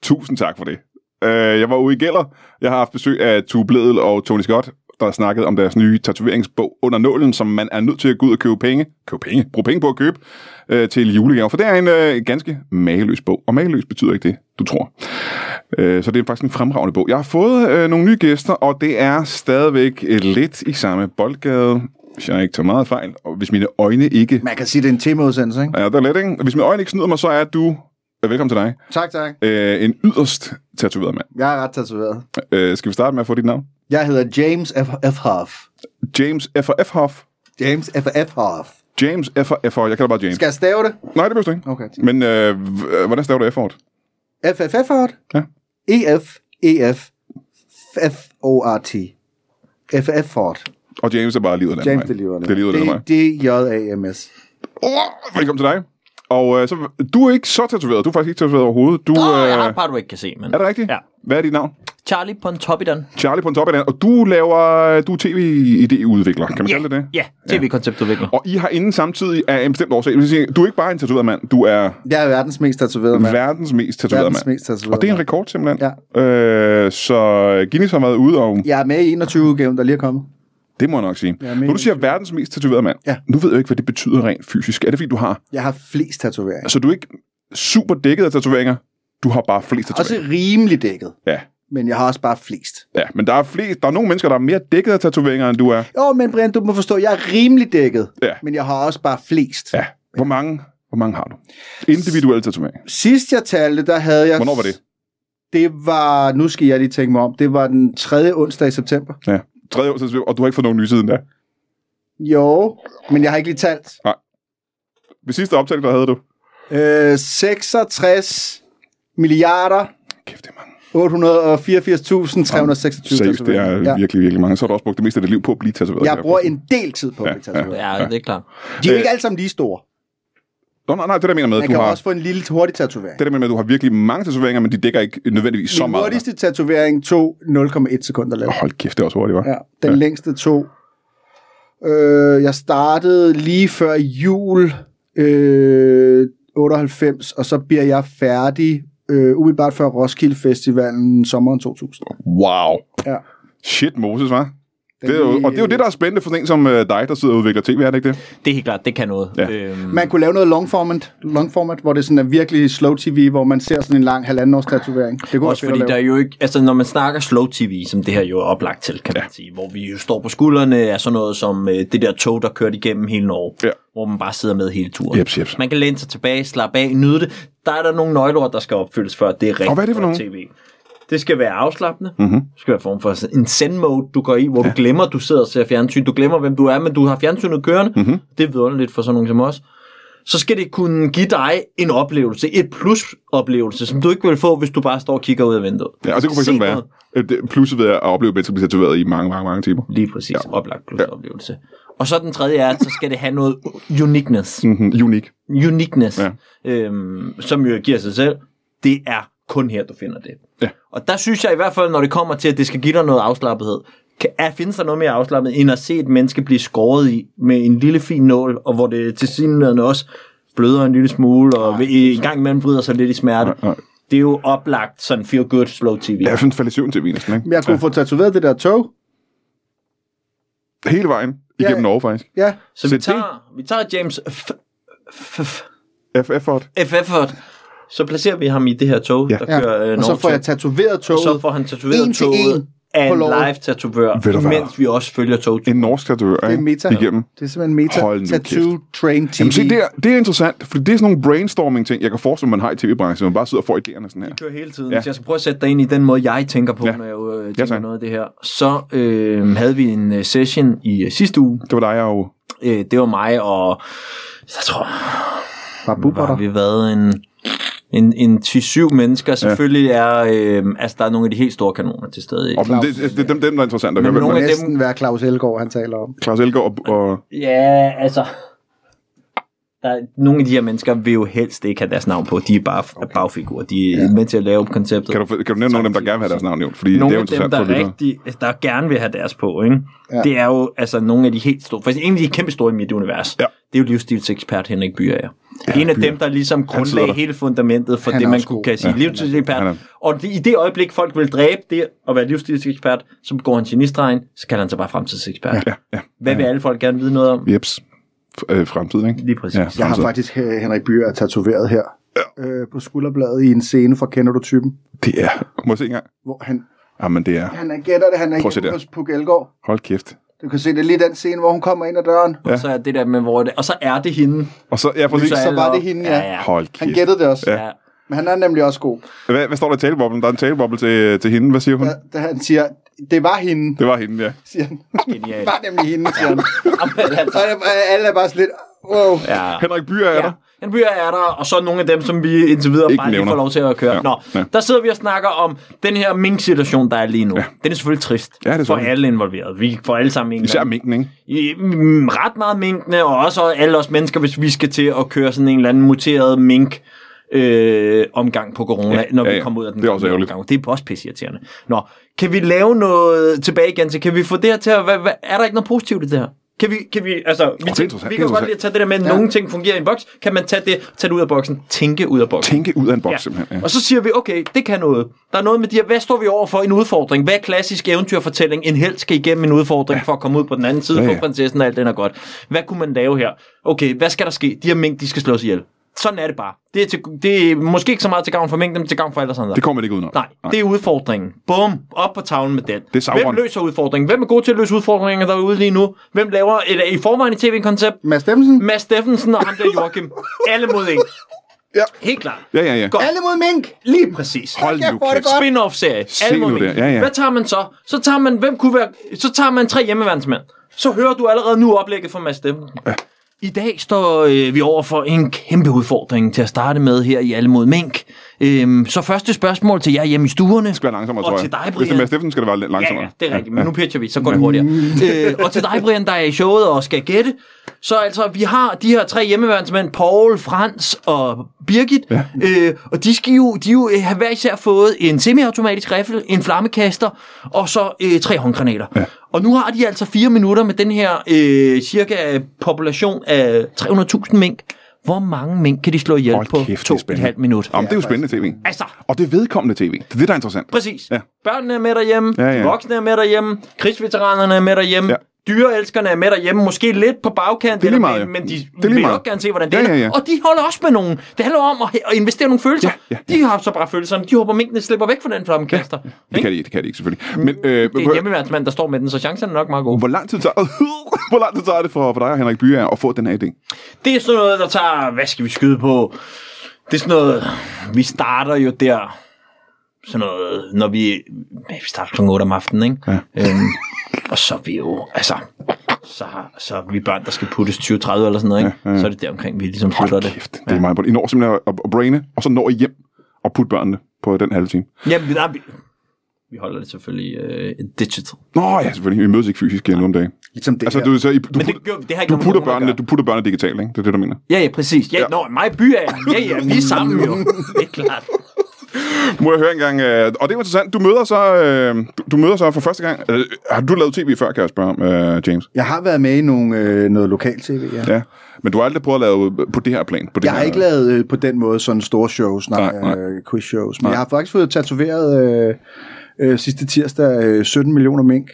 S4: Tusind tak for det. Øh, jeg var ude i Gælder. Jeg har haft besøg af Tue Bledel og Tony Scott, der snakkede om deres nye tatoveringsbog under nålen, som man er nødt til at gå ud og købe penge, købe penge, bruge penge på at købe øh, til julegave. For det er en øh, ganske mageløs bog, og mageløs betyder ikke det, du tror. Øh, så det er faktisk en fremragende bog. Jeg har fået øh, nogle nye gæster, og det er stadigvæk øh, lidt i samme boldgade, hvis jeg ikke tager meget fejl, og hvis mine øjne ikke
S3: Man kan sige, det er en temaudsendelse, ikke?
S4: Ja, det er let, ikke? Hvis mine øjne ikke snyder mig, så er du øh,
S1: Velkommen til dig.
S3: Tak, tak.
S1: Øh, en yderst tatoveret mand.
S3: Jeg er ret tatoveret.
S1: Øh, skal vi starte med at få dit navn?
S3: Jeg hedder James F. F. Hoff.
S1: James F. F. Hoff.
S3: James F. F. Hoff.
S1: James F. F. Hoff. Jeg kalder bare James.
S3: Skal jeg stave det?
S1: Nej, det behøver du ikke.
S3: Okay.
S1: Men øh, h- øh, hvordan staver du F-ordet?
S3: F. F. F. Hoff.
S1: Ja.
S3: E. F. E. F. F. O. R. T. F. F. Ford.
S1: Og James er bare livet af den
S3: James, det lever
S1: Det er livet af den vej.
S3: D. D. J. A. M. S.
S1: Oh, velkommen til dig. Og øh, så, du er ikke så tatoveret. Du er faktisk ikke tatoveret overhovedet. Du,
S2: Åh, jeg har
S1: øh,
S2: et par, du ikke kan se, men...
S1: er det rigtigt?
S2: Ja.
S1: Hvad er dit navn?
S2: Charlie Pontoppidan.
S1: Charlie på en top af den. Og du laver, øh, du er tv-idéudvikler. Kan man
S2: Ja,
S1: kalde det det?
S2: ja tv-konceptudvikler.
S1: Og I har inden samtidig af en bestemt årsag. Det vil sige, du er ikke bare en tatoveret mand. Du er
S3: Jeg er verdens mest tatoverede mand.
S1: verdens mest tatoverede
S3: Verdens
S1: mand.
S3: mest tatoverede
S1: Og det er en
S3: mand.
S1: rekord simpelthen. Ja. Øh, så Guinness har været ude, og
S3: Jeg er med i 21-udgaven, der lige er kommet.
S1: det må jeg nok sige.
S3: Ja, men-
S1: Når du siger verdens mest tatoverede mand,
S3: Ja.
S1: nu ved jeg jo ikke, hvad det betyder rent fysisk. Er det fordi, du har...
S3: Jeg har flest tatoveringer.
S1: Så du er ikke super dækket af tatoveringer, du har bare flest
S3: Også
S1: tatoveringer.
S3: rimelig dækket,
S1: Ja,
S3: men jeg har også bare flest.
S1: ja, men der er, flest, der er nogle mennesker, der er mere dækket af tatoveringer, end du er.
S3: Jo, oh, men Brian, du må forstå, jeg er rimelig dækket,
S1: Ja.
S3: men jeg har også bare flest.
S1: Ja. Hvor mange, hvor mange har du? Individuelle tatoveringer.
S3: Sidst jeg talte, der havde jeg...
S1: Hvornår var det?
S3: Det var, nu skal jeg lige tænke mig om, det var den 3. onsdag i september.
S1: Ja. Tredje år, så- og du har ikke fået nogen nye siden da.
S3: Jo, men jeg har ikke lige talt.
S1: Ved sidste optag, der havde du.
S3: Øh, 66 milliarder
S1: Kæft, det er mange.
S3: 884.326
S1: Seriøst, det er
S3: tatoveringer. Ja.
S1: virkelig, virkelig mange. Så har du også brugt det meste af dit liv på at blive tatoveret.
S3: Jeg bruger en del tid på at blive tatoveret.
S2: Ja, det er klart.
S3: De er jo ikke alle sammen lige store.
S1: Nå, nej, nej, det der mener med,
S3: Man
S1: at du
S3: kan
S1: har...
S3: også få en lille hurtig tatovering.
S1: Det der med, at du har virkelig mange tatoveringer, men de dækker ikke nødvendigvis så
S3: Min
S1: meget.
S3: hurtigste tatovering tog 0,1 sekunder
S1: Åh,
S3: lavet.
S1: Hold kæft, det er også hurtigt, var.
S3: Ja, den ja. længste tog. Øh, jeg startede lige før jul øh, 98, og så bliver jeg færdig øh, umiddelbart før Roskilde Festivalen sommeren 2000.
S1: Wow.
S3: Ja.
S1: Shit, Moses, var. Det er jo, og det er jo det, der er spændende for sådan en som øh, dig, der sidder og udvikler tv, er det ikke det?
S2: Det er helt klart, det kan noget.
S1: Ja.
S2: Øhm,
S3: Mm. Man kunne lave noget long format, long format, hvor det sådan er virkelig slow tv, hvor man ser sådan en lang halvanden års tatovering. Det kunne
S2: også
S3: være
S2: fordi
S3: fedt at
S2: der er
S3: lave.
S2: jo ikke, altså når man snakker slow tv, som det her jo er oplagt til, kan man sige, hvor vi jo står på skuldrene af sådan noget som øh, det der tog, der kørte igennem hele Norge,
S1: Ja.
S2: hvor man bare sidder med hele turen.
S1: Jeps, jeps.
S2: Man kan læne sig tilbage, slappe af, nyde det. Der er der nogle nøgleord, der skal opfyldes, før det er rigtigt
S1: Og hvad er det for
S2: godt
S1: nogle? Mhm.
S2: tv. Det skal være afslappende. Mm-hmm. Det skal være form for sådan en send-mode, du går i, hvor ja. du glemmer, du sidder og ser fjernsyn. Du glemmer, hvem du er, men du har fjernsynet kørende.
S1: Mhm.
S2: Mm-hmm. Det er vidunderligt for sådan nogen som os. Så skal det kunne give dig en oplevelse, et plus-oplevelse, som du ikke vil få, hvis du bare står og kigger ud af vinduet.
S1: Ja, og det kunne for
S2: Se
S1: eksempel være, øh,
S2: noget.
S1: det- pludselig ved at opleve mennesker blive tatoveret i mange, mange, mange timer.
S2: Lige præcis, ja. oplagt plus-oplevelse. Og så den tredje er, at så skal det have noget uniqueness.
S1: Mm-hmm. Unik.
S2: uniqueness,
S1: Ja.
S2: ja. øhm, som jo giver sig selv, det er kun her, du finder det.
S1: Ja.
S2: Og der synes jeg i hvert fald, når det kommer til, at det skal give dig noget afslappethed, kan, er, findes der noget mere afslappet, end at se et menneske blive skåret i med en lille fin nål, og hvor det til synligheden også bløder en lille smule, og ved, i en gang imellem bryder sig lidt i smerte.
S1: Nej, nej.
S2: Det er jo oplagt sådan feel good slow tv.
S1: Ja, sådan falde i søvn til næsten, ikke?
S3: Men Jeg kunne få tatoveret det der tog.
S1: Hele vejen igennem
S3: Ja.
S1: Norge, faktisk.
S3: Ja,
S1: så
S2: Så vi
S1: det-
S2: tager, vi tager James F- F- F-
S1: FF-ort.
S2: FF, så placerer vi ham i det her tog,
S1: Ja.
S2: der
S3: ja.
S2: kører øh,
S3: og så får
S2: Norge-tog.
S3: jeg tatoveret
S2: Og
S3: toget.
S2: så får han
S3: En
S2: tatoveret
S3: til en
S2: toget af
S3: på
S2: en
S3: låret.
S2: live-tatovør,
S1: Ved du hvad?
S2: mens vi også følger toget.
S1: En norsk tatovør,
S3: Det er meta.
S1: ikke? Igennem.
S3: Det er simpelthen meta.
S1: Hold nu
S3: Tattoo Train TV.
S1: Jamen se, det er, det er interessant, for det er sådan nogle brainstorming-ting, jeg kan forestille mig, man har i tv-branchen, man bare sidder og får idéerne sådan her.
S2: kører hele tiden.
S1: Ja.
S2: Ja. Så jeg skal prøve at sætte dig ind i den måde, jeg tænker på,
S1: Ja.
S2: ja. når jeg øh,
S1: Ja,
S2: tænker
S1: tak.
S2: ja, noget af det her. Så øh, havde vi en øh, session i øh, sidste uge.
S1: Det var dig, jeg jo...
S2: Øh, det var mig og... Jeg tror,
S3: Bare
S2: hvor
S3: buber
S2: har
S3: dig.
S2: vi været en... En, en 10-7 mennesker, selvfølgelig er, øh, altså der er nogle af de helt store kanoner til stede.
S1: Og det, det, det, dem, dem, der er interessant at
S2: Men
S1: høre.
S2: nogle
S1: Nogle...
S2: af-
S3: Næsten hvad Claus Elgaard, han taler om.
S1: Claus Elgaard og, og...
S2: Ja, altså... Der er, nogle af de her mennesker vil jo helst ikke have deres navn på. De er bare okay. bagfigurer. De er ja. med til at lave konceptet.
S1: Kan du, kan du nævne nogle af dem, der gerne vil have deres navn nævnt? Fordi det
S2: nogle
S1: er jo
S2: af dem,
S1: interessant for
S2: der,
S1: lytterne.
S2: rigtig, der gerne vil have deres på, ikke?
S3: Ja.
S2: Ja. det er jo altså, nogle af de helt store, faktisk en af de kæmpe store i mit univers,
S1: Ja.
S2: det er jo livsstilsekspert Henrik Byer. Ja, en af dem, der ligesom
S1: sidder der.
S2: grundlagde hele fundamentet for
S3: Han er
S2: det, man
S3: også
S2: kunne
S3: god.
S2: kan sige ja, livsstilsekspert.
S1: han er-
S2: Og det, i det øjeblik, folk vil dræbe det at være livsstilsekspert, så går han genistregen, så kalder han sig bare fremtidsekspert.
S1: Ja, ja.
S2: Hvad vil alle folk gerne vide noget om?
S1: Jeps. F- øh, fremtiden, ikke?
S2: Lige
S1: Ja,
S2: præcis.
S3: Jeg har
S1: fremtiden.
S3: faktisk øh, Henrik Byer er tatoveret her øh, på skulderbladet i en scene fra Kender du typen?
S1: Det er... Må jeg se engang?
S3: Hvor han,
S1: Jamen, det er...
S3: han er gætter det, han er
S1: Prøv at se
S3: hjemme
S1: der.
S3: hos Puk Elgård.
S1: Hold kæft.
S3: Du kan se, det er lige den scene, hvor hun kommer ind ad døren.
S2: Og så er det der med, hvor det, og så er det hende.
S1: Og så... Ja, præcis.
S2: Lyser
S3: Så
S2: alle
S3: var det
S2: op.
S3: hende, ja.
S2: ja. ja.
S1: Hold
S3: Han
S1: kæft.
S3: gættede det også.
S1: Ja.
S2: ja.
S3: Men han er nemlig også god.
S1: Hvad, hvad står der i taleboblen? Der er en taleboble til, til hende. Hvad siger hun? Ja.
S3: Da han siger, det var hende,
S1: Det var hende, ja.
S3: siger han.
S2: Genialt.
S3: Det var nemlig hende, siger han.
S2: Jamen, altså,
S3: Og alle- alle er bare sådan lidt, wow.
S2: ja.
S1: Henrik Byer er ja.
S2: Ja.
S1: der.
S2: En byer er der, og så nogle af dem, som vi indtil videre
S1: Ikke
S2: ikke bare nævner.
S1: nævner.
S2: lige får lov til at køre.
S1: Ja.
S2: Ja. Nå,
S1: Ja.
S2: ja. der sidder vi og snakker om den her mink-situation, der er lige nu. Ja. Den er selvfølgelig trist
S1: Ja, det er
S2: for
S1: sådan.
S2: alle involverede. Vi får alle sammen en
S1: Især minken, ikke?
S2: i, mm, ret meget minkene, og også alle os mennesker, hvis vi skal til at køre sådan en eller anden muteret mink øh, omgang på corona, ja, når ja,
S1: ja,
S2: vi
S1: ja.
S2: kommer ud af den.
S1: Det er også
S2: gamle
S1: ærgerligt.
S2: Omgang. Det er også pisseirriterende. Nå, kan vi lave noget tilbage igen til, kan vi få det her til at, hvad, hvad, er der ikke noget positivt i det her? Kan vi, kan vi, altså, vi,
S1: er interessant,
S2: tænker, vi
S1: det er
S2: kan godt lige
S1: interessant.
S2: tage det der med, at nogle ting fungerer i en boks, kan man tage det, tage det ud af boksen, tænke ud af boksen.
S1: Tænke ud af en boks, ja. simpelthen. Ja.
S2: Og så siger vi, okay, det kan noget. Der er noget med de her, hvad står vi over for? En udfordring. Hvad er klassisk eventyrfortælling? En held skal igennem en udfordring for at komme ud på den anden side,
S1: Ja,
S2: ja,
S1: ja.
S2: ja. få prinsessen og alt den er godt. Hvad kunne man lave her? Okay, hvad skal der ske? De her mink, de skal slås ihjel. Sådan er det bare. Det er, til, det er måske ikke så meget til gavn for mængden, men til gavn for alle andre.
S1: Det kommer man ikke udenom.
S2: Nej, det er udfordringen. Bum, op på tavlen med den.
S1: er Sauron.
S2: Hvem løser udfordringen? Hvem er god til at løse udfordringer derude lige nu? Hvem laver et, i forvejen et tv-koncept?
S3: Mads Stemmelsen,
S2: Mads Steffensen og ham der Joachim. Alle mod en.
S3: Ja.
S2: Helt klart.
S1: Ja, ja, ja.
S2: Godt.
S3: alle mod mink.
S2: Lige præcis.
S1: Hold
S3: Jeg
S1: nu
S3: får det
S1: kæft.
S3: godt.
S2: Spin-off-serie.
S1: Se
S2: Alle
S1: nu
S2: mulige.
S1: der, ja, ja.
S2: Hvad tager man så? Så tager man, hvem kunne være, så tager man tre hjemmeværnsmænd. Så hører du allerede nu oplægget fra Mads Steffensen. Ja. I dag står øh, vi over for en kæmpe udfordring til at starte med her i Alle mod Mink. Øhm, så første spørgsmål til jer hjemme i stuerne.
S1: Det skal være langsommere,
S2: Og
S1: tror jeg.
S2: til dig,
S1: Hvis det er
S2: Brian.
S1: Mads Steffen, skal det være lidt
S2: Ja,
S1: langsommere.
S2: ja, det er rigtigt, men nu pitcher vi, så går det hurtigere.
S1: Mm.
S2: øh, og til dig, Brian, der er i showet og skal gætte, så altså, vi har de her tre hjemmeværnsmænd, Paul, Frans og Birgit, ja. øh, og de, skal jo, de jo, øh, har hver især fået en semiautomatisk riffel, en flammekaster og så øh, tre håndgranater. Ja. Og nu har de altså fire minutter med den her øh, cirka population af 300.000 mink. Hvor mange mink kan de slå ihjel
S1: Hold
S2: på
S1: kæft, det er
S2: to og et
S1: spændende.
S2: halvt minut?
S1: Jamen, det er jo spændende tv.
S2: Altså,
S1: Og det er vedkommende tv. Det er det, der er interessant.
S2: Præcis.
S1: Ja.
S2: Ja. Børnene er med derhjemme,
S1: Ja,
S2: ja,
S1: ja.
S2: ja. de voksne er med derhjemme, krigsveteranerne er med derhjemme,
S1: Ja.
S2: ja. dyreelskerne er med derhjemme, måske lidt på bagkant,
S1: lige
S2: eller-
S1: meget, jo.
S2: men, men de
S1: Det er lige
S2: vil
S1: meget.
S2: nok gerne se, hvordan det
S1: Ja,
S2: ender.
S1: ja, ja.
S2: Og de holder også med nogen. Det handler om at, at investere nogle følelser.
S1: Ja,
S2: De har så bare følelserne. De håber, minkene slipper væk fra den flammekaster. Ja,
S1: Det kan de, ikke, det kan de ikke, selvfølgelig. Men øh,
S2: Det er en hjemmeværnsmand, der står med den, så chancen er nok meget god.
S1: hvor lang tid tager, *laughs* hvor lang tid tager det for, for dig og Henrik Byer at få den her idé?
S2: Det er sådan noget, der tager... Hvad skal vi skyde på? Det er sådan noget... Vi starter jo der... Sådan noget, når vi... ja, Vi starter kl. 8 om aftenen, ikke? Ja. Øhm, og så er vi jo... Altså... Så, har, så er vi børn, der skal puttes 20-30 eller sådan noget, ikke? Ja, ja. Så er det der omkring, vi ligesom slutter
S1: Hold
S2: det.
S1: kæft, det er meget på I når simpelthen at, at braine, og så når I hjem og putte børnene på den halve time.
S2: Jamen, der, er vi, vi holder det selvfølgelig øh, digital.
S1: Nå ja, selvfølgelig. Vi mødes ikke fysisk igen nu om dagen.
S3: Ligesom det
S1: Altså,
S3: her.
S1: du, så, I, du,
S2: Men det,
S1: putter,
S2: gør, vi- det har ikke
S1: du,
S2: noget med
S1: putter
S2: corona at
S1: børnene,
S2: gøre.
S1: du putter børnene digitalt, ikke? Det er det, du mener.
S2: Ja, ja, præcis. Ja, ja. Nå, mig i by er... Ja, ja, vi er sammen
S1: *laughs*
S2: jo. Det er klart.
S1: Må jeg høre engang, øh, og det er jo interessant, du møder så, øh, du, du møder så for første gang, øh, har du lavet tv før, kan jeg spørge om, øh, James?
S3: Jeg har været med i nogle, øh, noget lokal tv, ja.
S1: Ja, men du har aldrig prøvet at lave på det her plan? På det
S3: Jeg
S1: her,
S3: har ikke lavet øh, på den måde sådan store shows, nej,
S1: Nej, nej.
S3: nej. Øh, quiz shows, men nej. jeg har faktisk fået tatoveret øh, øh, sidste tirsdag øh, 17 millioner mink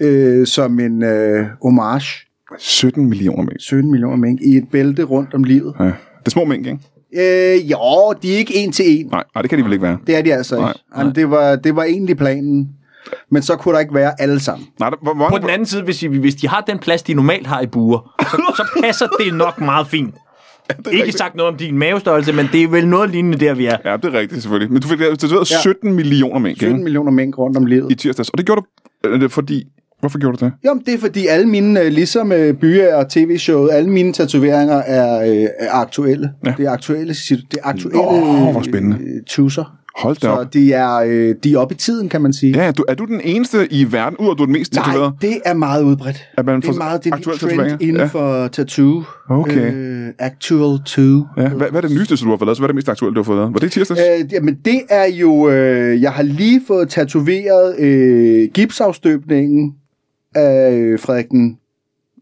S3: øh, som en øh, homage.
S1: 17 millioner mængder.
S3: 17 millioner mink i et bælte rundt om livet.
S1: Ja. Det er små mængder, ikke?
S3: Øh, jo, de er ikke en til en.
S1: Nej, nej, det kan de vel ikke være.
S3: Det er de altså
S1: Nej,
S3: ikke. Jamen, det, var, det var egentlig planen, men så kunne der ikke være alle sammen.
S1: Nej, der, hvor,
S2: På
S1: hvor,
S2: den anden side, hvis de, hvis de har den plads, de normalt har i buer, så,
S1: *laughs*
S2: så passer det nok meget fint. Ja, ikke sagt noget om din mavestørrelse, men det er vel noget lignende der, vi er.
S1: Ja, det er rigtigt selvfølgelig. Men du fik lavet tatoveret
S3: Ja.
S1: 17 millioner mængder
S3: 17
S1: ikke?
S3: millioner mink rundt om livet.
S1: i tirsdags, og det gjorde du, øh, det er fordi... Hvorfor gjorde du det?
S3: Jo, men det er fordi alle mine, øh, ligesom øh, byer og tv-showet, alle mine tatoveringer er, øh, er aktuelle. Ja. Det er aktuelle, sit- det er aktuelle
S1: Nå, hvor spændende.
S3: øh, tusser.
S1: Hold da
S3: Så
S1: op.
S3: de er, øh, de er oppe i tiden, kan man sige.
S1: Ja, du, er du den eneste i verden, ud af at du er den mest
S3: Nej,
S1: tatoveret?
S3: det er meget udbredt.
S1: At man
S3: det er
S1: får
S3: meget det er en
S1: aktuelle
S3: trend
S1: tatoveringer?
S3: inden
S1: Ja.
S3: ja. for tattoo.
S1: Okay.
S3: Øh, actual tattoo.
S1: Ja, hvad, hvad er det nyeste, du har fået lavet? Så hvad er det mest aktuelle, du har fået lavet? Var det i tirsdags? Øh,
S3: Øh, jamen, det er jo... Øh, jeg har lige fået tatoveret øh, gipsafstøbningen af øh, Frederik den...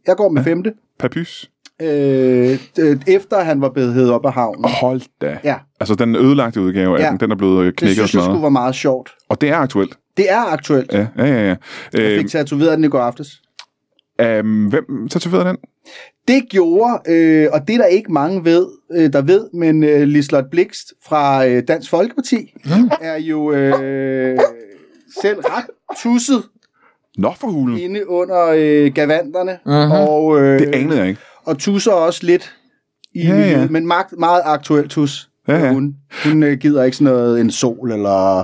S3: Jeg går med ja. femte.
S1: Papys?
S3: Øh, d- efter han var blevet hævet op af havnen.
S1: Hold da.
S3: Ja.
S1: Altså, den ødelagte udgave af ja.
S3: Ja.
S1: den, den er blevet øh,
S3: Det
S1: knækket og
S3: synes jeg
S1: smadret.
S3: skulle være meget Øh, sjovt.
S1: Og det er aktuelt.
S3: Det er aktuelt.
S1: Ja, ja, ja. ja.
S3: Jeg
S1: Øh,
S3: fik tatoveret den i går aftes.
S1: øhm, hvem tatoverede den?
S3: Det gjorde, øh, og det er der ikke mange ved, øh, der ved, men øh, Lislot Blikst fra øh, Dansk Folkeparti er jo øh, selv ret tusset
S1: Nå for hulen.
S3: inde under øh, gavanterne.
S2: Mhm.
S3: Og, øh,
S1: Mm. Det anede jeg ikke.
S3: og tusser også lidt i
S1: Ja,
S3: ja,
S1: ja.
S3: ja. men meget, meget aktuel tus.
S1: Ja, ja.
S3: Hun, hun øh, gider ikke sådan noget, en sol eller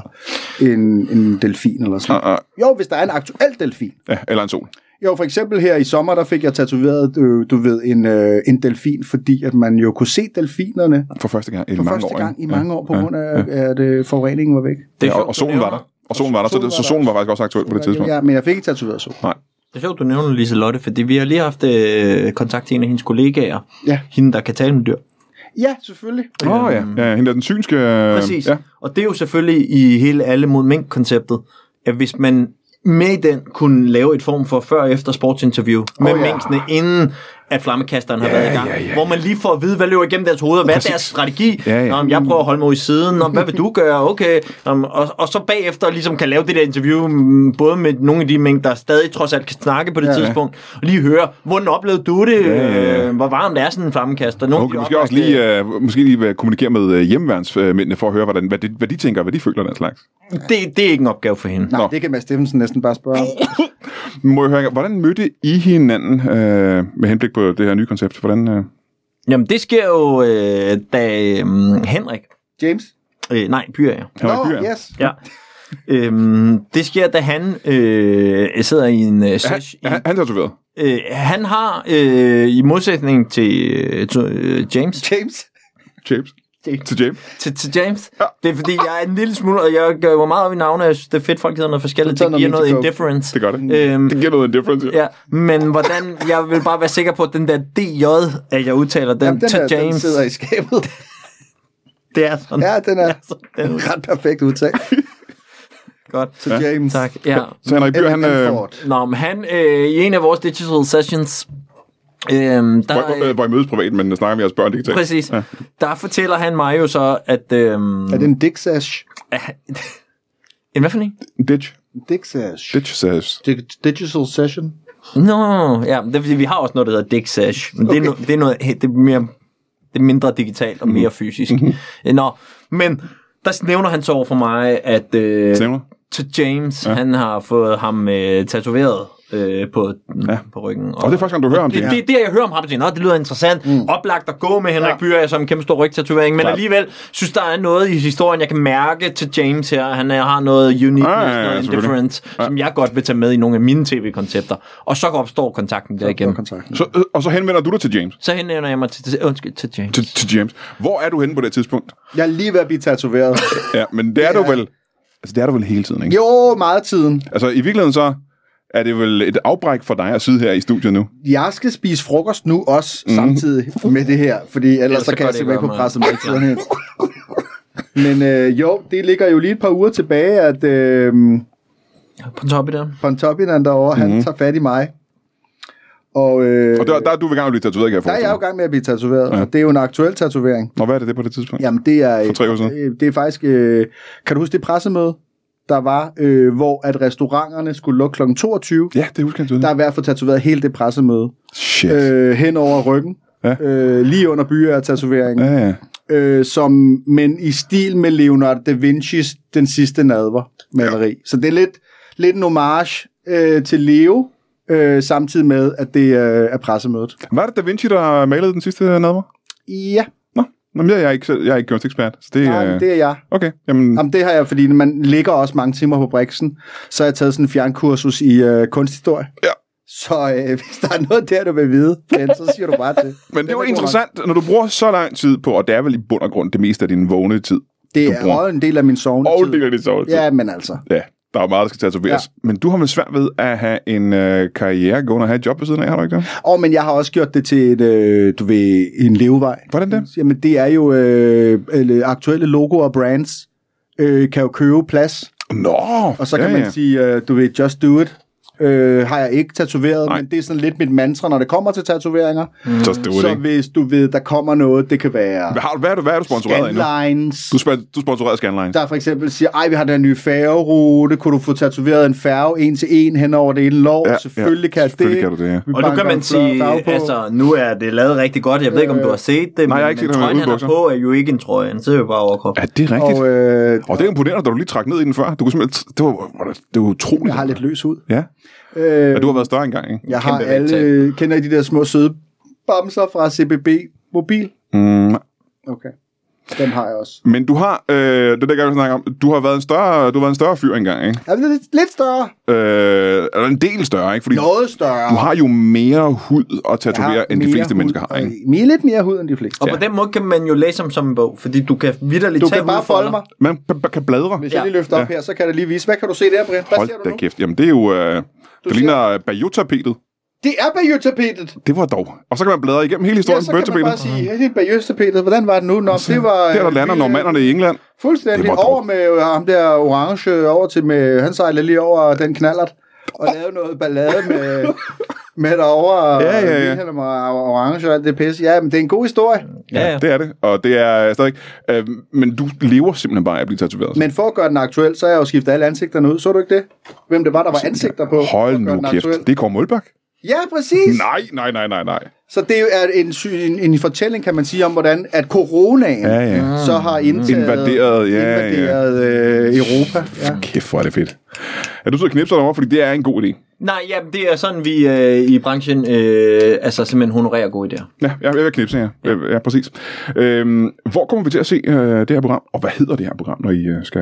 S3: en, en delfin eller sådan
S1: Ah, ah.
S3: noget. Jo, hvis der er en aktuel delfin.
S1: Ja, eller en sol.
S3: Jo, for eksempel her i sommer, der fik jeg tatoveret, øh, du ved, en, øh, en delfin, fordi at man jo kunne se delfinerne
S1: For første gang i
S3: for
S1: mange
S3: første
S1: år.
S3: gang i
S1: ikke?
S3: mange år, på grund af, at øh, forureningen var væk.
S2: Det
S1: Ja,
S2: er
S1: og,
S2: sjovt,
S1: og
S2: du
S1: solen
S2: nævner-
S1: var der. Og solen var der, så,
S3: solen
S1: det,
S3: var
S1: så
S3: der.
S1: solen var faktisk også aktuel på det tidspunkt.
S3: Ja, men jeg fik ikke tatoveret sol.
S1: Nej.
S2: Det er sjovt, du nævner Lise Lotte, fordi vi har lige haft øh, kontakt til en af hendes kollegaer.
S3: Ja.
S2: Hende, der kan tale med dyr.
S3: Ja, selvfølgelig.
S1: Åh oh, ja. ja, hende der den synske... øh,
S2: Præcis.
S1: Ja.
S2: Ja. Og det er jo selvfølgelig i hele alle mod mink-konceptet, at hvis man med den kunne lave et form for før- og efter sportsinterview med
S3: ja.
S2: ja. minksene, inden at flammekasteren har ja, været i gang. Ja, ja. Hvor man lige får at vide, hvad løber igennem deres hoveder, hvad er deres strategi.
S1: Ja, ja.
S2: Nå, men jeg prøver at holde mig i siden. Nå, men hvad vil du gøre? Okay. Nå, men- og, og så bagefter ligesom kan lave det der interview, mm, både med nogle af de mink, der stadig trods alt kan snakke på det ja, tidspunkt, og lige høre, hvordan oplevede du det? Ja,
S1: ja,
S2: ja,
S1: ja.
S2: ja. Hvor varmt er sådan en flammekaster? Nogle af
S1: Okay,
S2: de
S1: måske også
S2: oplagte-
S1: lige, øh, måske lige øh, kommunikere med øh, hjemmeværnsmændene for at høre, hvordan, hvad, de, hvad de tænker, hvad de føler den slags.
S2: det, det er ikke en opgave for hende.
S3: Nej,
S1: Nå.
S3: det kan Mads Steffensen næsten bare spørge om.
S1: *coughs* Må jeg høre, hvordan mødte I hinanden øh, med henblik på det her nye koncept? Hvordan, øh,
S2: Jamen, det sker jo, øh, da øh, Henrik...
S3: James?
S2: Øh, nej, Pyr, ja.
S1: her i byen?
S3: yes.
S2: ja. Øhm, det sker, da han øh, sidder i en øh,
S1: Han,
S2: sesh.
S1: han,
S2: Han,
S1: han er tatoveret.
S2: øh, han har, øh, i modsætning til, øh, til øh, James,
S3: James?
S1: James.
S2: James.
S1: Til James.
S2: til, til James, det er fordi, jeg er en lille smule, og jeg gør jo meget op i navne, og jeg synes, det er fedt, folk hedder noget forskelligt.
S3: tager
S2: Det giver
S3: noget
S2: noget
S3: Mexico.
S2: indifference.
S1: Det gør det.
S2: Øhm,
S1: Det giver noget en difference. Ja.
S2: Ja, men hvordan, jeg vil bare være sikker på, at den der DJ, at jeg udtaler den,
S3: Jamen, den,
S2: til
S3: der,
S2: James,
S3: den sidder i
S2: *laughs*
S3: skabet.
S2: det er sådan.
S3: Ja, den er
S2: sådan, den er
S3: ret perfekt udtalt.
S2: godt.
S3: Så James.
S2: Tak, ja.
S1: Så Henrik Byr, han... Øh,
S3: Ford.
S2: Nå, men han, øh, i en af vores digital sessions, øh, der, øh,
S1: hvor, øh, hvor I mødes privat, men snakker med jeres børn digitalt.
S2: præcis, der fortæller han mig jo så, at... Øh,
S3: Er det en dick sash?
S2: *laughs* en hvad for en?
S1: Ditch.
S3: Dick sash.
S1: Ditch says.
S3: Dig- Digital session?
S2: Nå, ja, det, er fordi, vi har også noget, der hedder Dick Sash, men okay. det, er no, det, er noget, det, er mere, det er mindre digitalt og mere fysisk. Øh, Nå, men der nævner han så over for mig, at... Øh,
S1: Stemmer.
S2: til James, ja. han har fået ham øh, tatoveret øh, på, ja. på ryggen.
S1: Og det er første gang, du hører om det.
S2: det, det, det, jeg hører om ham, det, Nå, det lyder interessant. Mm. Oplagt at gå med Henrik ja. Byer som en kæmpe stor rygtatovering, men alligevel synes der er noget i historien, jeg kan mærke til James her. Han er, har noget unique,
S1: Ja, ja,
S2: ja,
S1: ja,
S2: ja, noget
S1: selvfølgelig.
S2: indifference, ja. som jeg godt vil tage med i nogle af mine tv-koncepter. Og så opstår kontakten der igen.
S3: Kontakten.
S1: Så, øh, og så henvender du dig til James.
S2: Så henvender jeg mig til, til, undskyld, til James.
S1: Til, til James. Hvor er du henne på det tidspunkt?
S3: Jeg er lige ved at blive tatoveret. *laughs*
S1: Ja, men det er du vel... Altså, det er du vel hele tiden, ikke?
S3: Jo, meget tiden.
S1: Altså, i virkeligheden så er det vel et afbræk for dig at sidde her i studiet nu.
S3: Jeg skal spise frokost nu også
S1: Mhm.
S3: mm. samtidig med det her, fordi ellers, ellers
S2: så
S3: så kan
S2: går
S3: jeg
S2: det ikke
S3: simpelthen ikke på
S2: om,
S3: presset med ind. *laughs* Men øh, jo, det ligger jo lige et par uger tilbage, at øh,
S2: På toppen der.
S3: Pontoppidan derovre, mm. han tager fat i mig. Og, øh,
S1: Mhm. Og der, der er du vil gerne blive tatoveret, kan jeg
S3: der er
S1: forestille
S3: jeg jo i
S1: mig.
S3: gang med at blive tatoveret, ja. og det er jo en aktuel tatovering.
S1: Nå, hvad er det, det er på det tidspunkt?
S3: Jamen, det er...
S1: For tre år siden.
S3: øh, Det er faktisk... Øh, kan du huske det pressemøde, der var, øh, hvor at restauranterne skulle lukke kl. 22?
S1: Ja, det husker jeg tydeligt.
S3: Der er i hvert fald tatoveret hele det pressemøde
S1: Shit.
S3: øh, hen over ryggen.
S1: Ja.
S3: Ja. Øh, lige under byer-tatoveringen.
S1: Ja, ja.
S3: Ja. Øh, som, men i stil med Leonardo da Vinci's Den sidste nadver maleri. Ja. Så det er lidt, lidt en homage øh, til Leo, øh, samtidig med, at det øh, er pressemødet.
S1: Var det Da Vinci, der malede den sidste nadver?
S3: Ja,
S1: Nå, Nå men jeg, jeg er ikke, selv- jeg er ikke kunstekspert, så det,
S3: nej,
S1: øh,
S3: men det er jeg.
S1: Okay, jamen,
S3: Jamen det har jeg, fordi man ligger også mange timer på Brixen, så har jeg taget sådan en fjernkursus i øh, kunsthistorie.
S1: Ja.
S3: Så øh, *laughs* hvis der er noget der, du vil vide, Ken, så siger du bare til.
S1: men det er jo
S3: god nok.
S1: interessant, når du bruger så lang tid på, og det er vel i bund og grund det meste af din vågne tid.
S3: Det
S1: du
S3: er
S1: bruger.
S3: også en del af min sovne.
S1: Og det er det så altid.
S3: Ja, men altså.
S1: ja, der er jo meget, der skal tatoveres. Ja. Men du har vel svært ved at have en øh, karriere gående og have et job ved siden af, har du ikke det?
S3: Og men jeg har også gjort det til et, øh, du ved, en levevej.
S1: Hvordan det?
S3: Jamen det er jo øh, eller aktuelle logoer og brands øh, kan jo købe plads,
S1: Nå!
S3: og så kan ja, man sige, øh, du ved, just do it. Øh, har jeg ikke tatoveret,
S1: Nej.
S3: Nej. men det er sådan lidt mit mantra, når det kommer til tatoveringer.
S1: Så det
S3: Så
S1: ikke.
S3: hvis du ved, der kommer noget, det kan være
S1: Hvad, har, du- hvad, er du, hvad er du sponsoreret af nu?
S3: Scanlines,
S1: Du, sp- du sponsorerer Scanline.
S3: der for eksempel siger, ej, vi har den her nye færgerute, kunne du få tatoveret en færge en til en hen over det ene lov?
S1: Ja,
S3: Ja, selvfølgelig
S1: ja,
S3: kan jeg
S1: selvfølgelig
S3: det.
S1: kan du det, ja.
S3: Vi
S2: Og nu
S3: banker
S2: kan
S3: en
S2: man
S3: flad
S2: sige,
S3: farve på.
S2: altså, nu er det lavet rigtig godt. Jeg ved ikke, om du har set det,
S1: Nej, jeg har
S2: men,
S1: ikke set
S2: men
S1: ham i
S2: trøjen, han
S1: uldbukser.
S2: har på, er jo ikke en trøje. Han sidder jo bare overkrop.
S1: Ja, det er rigtigt.
S3: Og
S1: Og, øh,
S3: øh,
S1: og det er imponerende, da du lige trak ned i den før. Du kunne simpelthen... t- Det var, var det, det var utroligt.
S3: jeg har lidt løs ud.
S1: Ja.
S3: Øh,
S1: ja, du har været større engang, ikke?
S3: jeg har
S2: kæmpe
S3: alle, kender I de der små søde bamser fra CBB Mobil?
S1: Mm,
S3: Okay. den har jeg også.
S1: Men du har, øh, det der gang, vi snakker om, du har været en større, du har været en større fyr engang, ikke?
S3: Ja, men det er lidt, lidt større.
S1: Øh, eller en del større, ikke? Fordi
S3: Noget større.
S1: du har jo mere hud at
S3: Jeg har
S1: tatovere, end de
S3: mere
S1: fleste
S3: hud,
S1: mennesker har, ikke?
S3: og- Mere lidt mere hud, end de fleste.
S2: Og ja. på den måde kan man jo læse om som en bog, fordi du kan vidderligt
S3: Du
S2: tage
S3: kan bare
S2: ud for
S3: folde
S2: dig.
S3: mig.
S1: Man b- b- kan bladre.
S3: Hvis ja. jeg
S2: Ja.
S3: lige løfter op her, så kan jeg lige vise. Hvad kan du se der, Brian? Hvad ser
S1: Hold
S3: du
S1: da
S3: nu?
S1: kæft. Jamen, det er jo... Øh, det
S3: ser-
S1: ligner øh, Bayeux-tapetet.
S3: Det er Bayeux-tapetet.
S1: Det var dog. Og så kan man bladre igennem hele
S3: Ja,
S1: historien
S3: så
S1: på
S3: kan man bare
S1: Bayeux-tapetet.
S3: sige, ja, det er Bayeux-tapetet. Hvordan var det nu? Nå, det var...
S1: Der, der
S3: øh,
S1: lander
S3: vi, øh,
S1: normanderne i England.
S3: Fuldstændig.
S1: Det var
S3: Over
S1: dog.
S3: med øh, ham der orange, øh, over til med... Han sejler lige over den knallert og lavede noget ballade
S1: *laughs*
S3: med... med derovre,
S1: Ja, ja, ja.
S3: Wilhelm og Orange og alt det pisse. Ja, men det er en god historie.
S2: Ja, ja.
S1: Det er det, og det er stadig... Øh, men du lever simpelthen bare af at blive tatoveret.
S3: Men for at gøre den aktuel, så har jeg jo skiftet alle ansigterne ud. Så du ikke det? Hvem det var, der var ansigter på? for
S1: Hold
S3: at gøre
S1: nu
S3: den
S1: kæft.
S3: aktuel?
S1: Det er Kåre Mølbak.
S3: Ja, præcis.
S1: Nej, nej, nej, nej, nej.
S3: Så det er en, sy- en, en fortælling, kan man sige, om hvordan at coronaen
S1: Ja, ja. Mm.
S3: så har indtaget,
S1: Invaderet, ja, ja.
S3: invaderet Øh, Europa. Ja.
S1: Kæft, hvor er det fedt. Ja, du sidder og knipser dig over, fordi det er en god idé.
S2: Nej, jamen, det er sådan, vi øh, i branchen øh, altså simpelthen honorerer gode idéer.
S1: Ja, jeg, jeg vil knipse her. Ja, ja præcis. Øhm, hvor kommer vi til at se øh, det her program? Og hvad hedder det her program, når I øh, skal...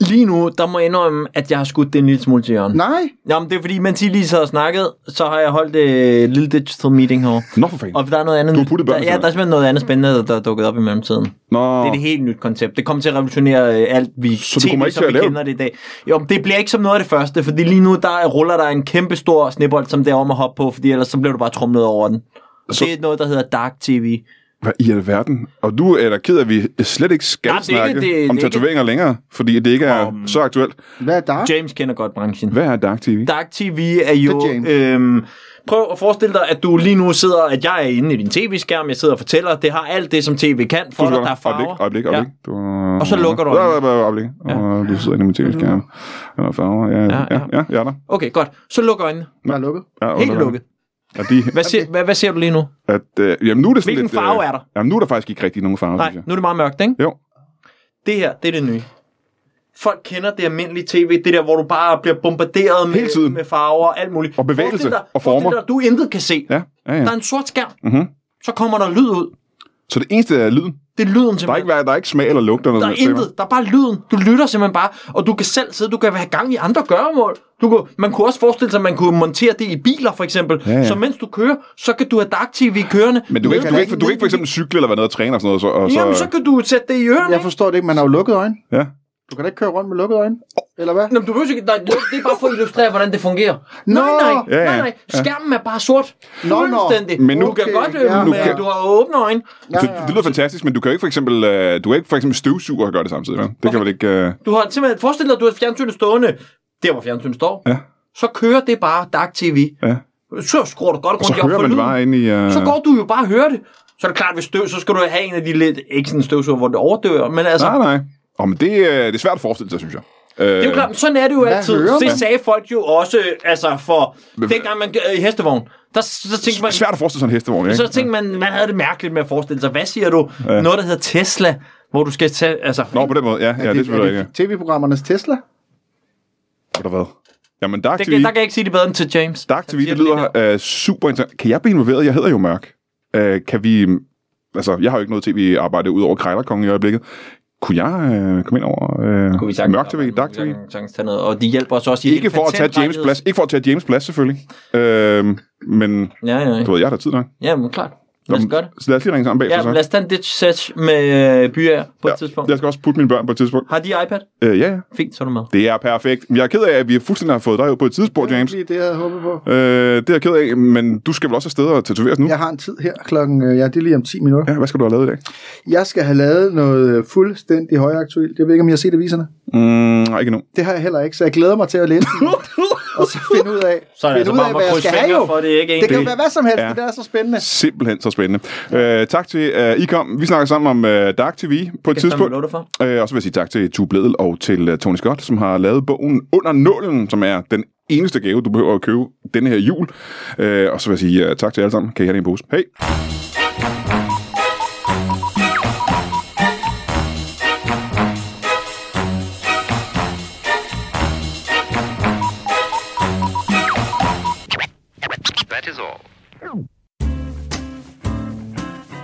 S2: Lige nu, der må jeg indrømme, at jeg har skudt det en lille smule til hjørnet.
S3: Nej,
S2: Jamen, det er fordi, mens I lige sad og snakkede, så har jeg holdt et øh, lille digital meeting herovre.
S1: Nå for fanden.
S2: Og der er noget andet...
S1: Du har puttet børnene
S2: der, Ja,
S1: til
S2: der er simpelthen noget andet spændende, der, der er dukket op i mellemtiden. Det
S1: Nå,
S2: er et helt nyt koncept. Det kommer til at revolutionere øh, alt, vi,
S1: du kommer ikke
S2: som
S1: til
S2: vi
S1: at lave
S2: kender det i dag. Jo, men det bliver ikke som noget af det første, fordi lige nu der er- ruller der en kæmpe stor snebold, som det er om at hoppe på, fordi ellers så bliver du bare trumlet over den. Og
S1: Så-
S2: det er noget, der hedder Dark TV.
S1: hvad i alverden? Og du er da ked af, at vi slet ikke skal
S2: Nej, det er
S1: snakke
S2: ikke- det-
S1: om
S2: det er ikke-
S1: tatoveringer længere, fordi det ikke er
S2: Om-
S1: så aktuelt.
S3: hvad er der?
S2: James kender godt branchen.
S1: Hvad er Dark TV?
S2: Dark TV er jo...
S3: Det er James.
S2: Øhm, prøv at forestille dig, at du lige nu sidder, at jeg er inde i din tv-skærm, jeg sidder og fortæller, det har alt det, som tv kan for dig, der er
S1: Øjeblik,
S2: farver.
S1: øjeblik, øjeblik. Ja. Du,
S2: Og så lukker du
S1: Ja,
S2: øjnene.
S1: ja, ja, øjeblik. Og du sidder inde i min tv-skærm. Og der er farver. Ja, ja, ja.
S2: ja.
S1: ja jeg er der.
S2: Ja. Okay, godt. Så luk øjnene.
S3: Der er lukket.
S1: Jeg er
S2: Helt
S1: under-
S2: lukket.
S1: Er de,
S2: Hvad, ser, hvad, hvad ser du lige nu?
S1: at, øh, jamen, nu er det sådan
S2: Hvilken
S1: lidt, øh,
S2: farve er der?
S1: Jamen, nu er der faktisk ikke rigtig nogen farve,
S2: Nej,
S1: synes jeg.
S2: nu er det meget mørkt, ikke?
S1: Jo.
S2: Det her, det er det nye. Folk kender det almindelige tv, det der, hvor du bare bliver bombarderet med,
S1: Hele tiden.
S2: med farver og alt muligt.
S1: Og bevægelse
S2: Forestil dig-
S1: og former.
S2: forestil Dig, at du intet kan se.
S1: Ja, ja, ja.
S2: Der er en sort skærm,
S1: Mhm.
S2: så kommer der lyd ud.
S1: Så det eneste er lyden.
S2: Det er lyden til
S1: Der er ikke, hver- der er ikke smag eller lugt eller
S2: Der
S1: noget.
S2: er intet. Der er bare lyden. Du lytter simpelthen bare, og du kan selv sidde. Du kan have gang i andre gøremål. Du kunne, man kunne også forestille sig, at man kunne montere det i biler, for eksempel.
S1: Ja, ja.
S2: Så mens du kører, så kan du have Dark TV kørende.
S1: Men du kan, ikke, du, kan ikke, du kan ikke for
S2: Nede-
S1: eksempel cykle eller være nede og træne og sådan noget. Så, og så,
S2: Jamen, så kan du sætte det i ørerne,
S3: Jeg
S2: ikke?
S3: forstår det ikke, man har jo lukket øjne.
S1: Ja.
S3: Du kan da ikke køre rundt med lukkede øjne, eller hvad?
S2: Nå, men du behøver ikke... Nej, det er bare for at illustrere, hvordan det fungerer.
S3: Nå!
S2: Nej, nej,
S1: Ja, ja.
S2: nej, nej. Skærmen er bare sort.
S3: Nå, nå.
S2: Fuldstændig.
S1: Men nu-
S2: du kan
S3: Okay,
S2: godt...
S3: ja.
S2: Ja.
S1: Nu
S2: Du,
S1: kan-
S2: kan... du har åbne øjne.
S1: Så, det lyder fantastisk, men du kan jo ikke for eksempel, øh, du kan ikke for eksempel støvsuge og gøre det samtidig. Vel? Det kan vel ikke... Øh,
S2: Du har simpelthen... Forestil dig, at du har fjernsynet stående. Der, hvor fjernsynet står.
S1: Ja.
S2: Så kører det bare Dark TV.
S1: ja.
S2: Så skruer du godt rundt
S1: Så
S2: i op
S1: hører
S2: for
S1: man det
S2: lyden.
S1: bare ind i... Øh,
S2: så går du jo bare og hører det. Så er det klart, hvis støv, så skal du have en af de lidt, ikke sådan en støvsuger, hvor det overdøver, men altså,
S1: Nej, nej. Åh, men det, øh, det er svært at forestille sig, synes jeg. Øh,
S2: det er jo klart, sådan er det jo
S3: Hvad
S2: altid.
S3: hører man?
S2: Det sagde folk jo også, altså for,
S1: Men-
S2: dengang man øh, i hestevogn, der, så tænkte man,
S1: Svært at forestille sig en hestevogn, ikke?
S2: så tænkte man, man havde det mærkeligt med at forestille sig, hvad siger du, noget der hedder Tesla, hvor du skal tage, altså,
S1: Nå, på den måde, ja, ja det, det
S3: er
S1: selvfølgelig ikke.
S3: det tv-programmernes Tesla?
S1: Ved du hvad? Jamen, Dark
S2: det,
S1: TV,
S2: kan- der kan jeg ikke sige det bedre end til James.
S1: Dark
S2: Han
S1: TV,
S2: siger
S1: det lyder øh, super interessant. Kan jeg blive involveret? Jeg hedder jo Mørk. Øh, kan vi... Altså, jeg har jo ikke noget tv-arbejde ud over Krejlerkongen i øjeblikket. Kunne jeg øh, komme ind over øh,
S2: Kunne vi sagtens-
S1: Mørk TV, Dark
S2: kunne
S1: TV?
S2: vi sagtens tage noget, og de hjælper os også i
S1: Ikke for at tage James plads, ikke for at tage James plads selvfølgelig. Øh, men
S2: Ja, ja, ja.
S1: du ved, jeg har da tid nok.
S2: ja men klart. Lad os gøre det.
S1: Så lad os lige ringe sammen bagefter.
S2: Ja,
S1: så.
S2: lad os tage en ditch set med øh, byer på et tidspunkt.
S1: Jeg skal også putte mine børn på et tidspunkt.
S2: Har de iPad?
S1: Øh, ja, ja.
S2: Fint, så er du med.
S1: Det er perfekt. Jeg er ked af, at vi fuldstændig har fået dig ud på et tidspunkt, James.
S3: Det er det, jeg havde håbet på.
S1: Øh, det er jeg ked af, men du skal vel også afsted og tatoveres nu?
S3: Jeg har en tid her klokken, øh, ja, det er lige om 10 minutter.
S1: ja. Hvad skal du have lavet i dag?
S3: Jeg skal have lavet noget øh, fuldstændig højaktuelt. Jeg ved ikke, om jeg har set aviserne.
S1: Mm, nej, ikke nu.
S3: Det har jeg heller ikke, så jeg glæder mig til at læse dem,
S2: *laughs*
S3: og så finde ud af,
S2: Så er det
S3: finde
S2: altså
S3: ud
S2: bare om
S3: af hvad
S2: at
S3: jeg
S2: krydse
S3: skal have
S2: fingre
S3: jo.
S2: for, at det ikke er en
S3: det kan jo
S1: del.
S3: være hvad som helst,
S1: Ja.
S3: det der er så spændende.
S1: Simpelthen så spændende. Øh, tak til øh, I kom. Vi snakker sammen om øh, Dark TV på et
S2: Det kan jeg
S1: tidspunkt.
S2: fandme love dig for.
S1: Øh, og så vil jeg sige tak til Tue Bledel og til øh, Tony Scott, som har lavet bogen Under Nålen, som er den eneste gave, du behøver at købe denne her jul. Øh, og så vil jeg sige øh, tak til jer alle sammen. Kan I have det i en pose? Hej!
S5: That is all.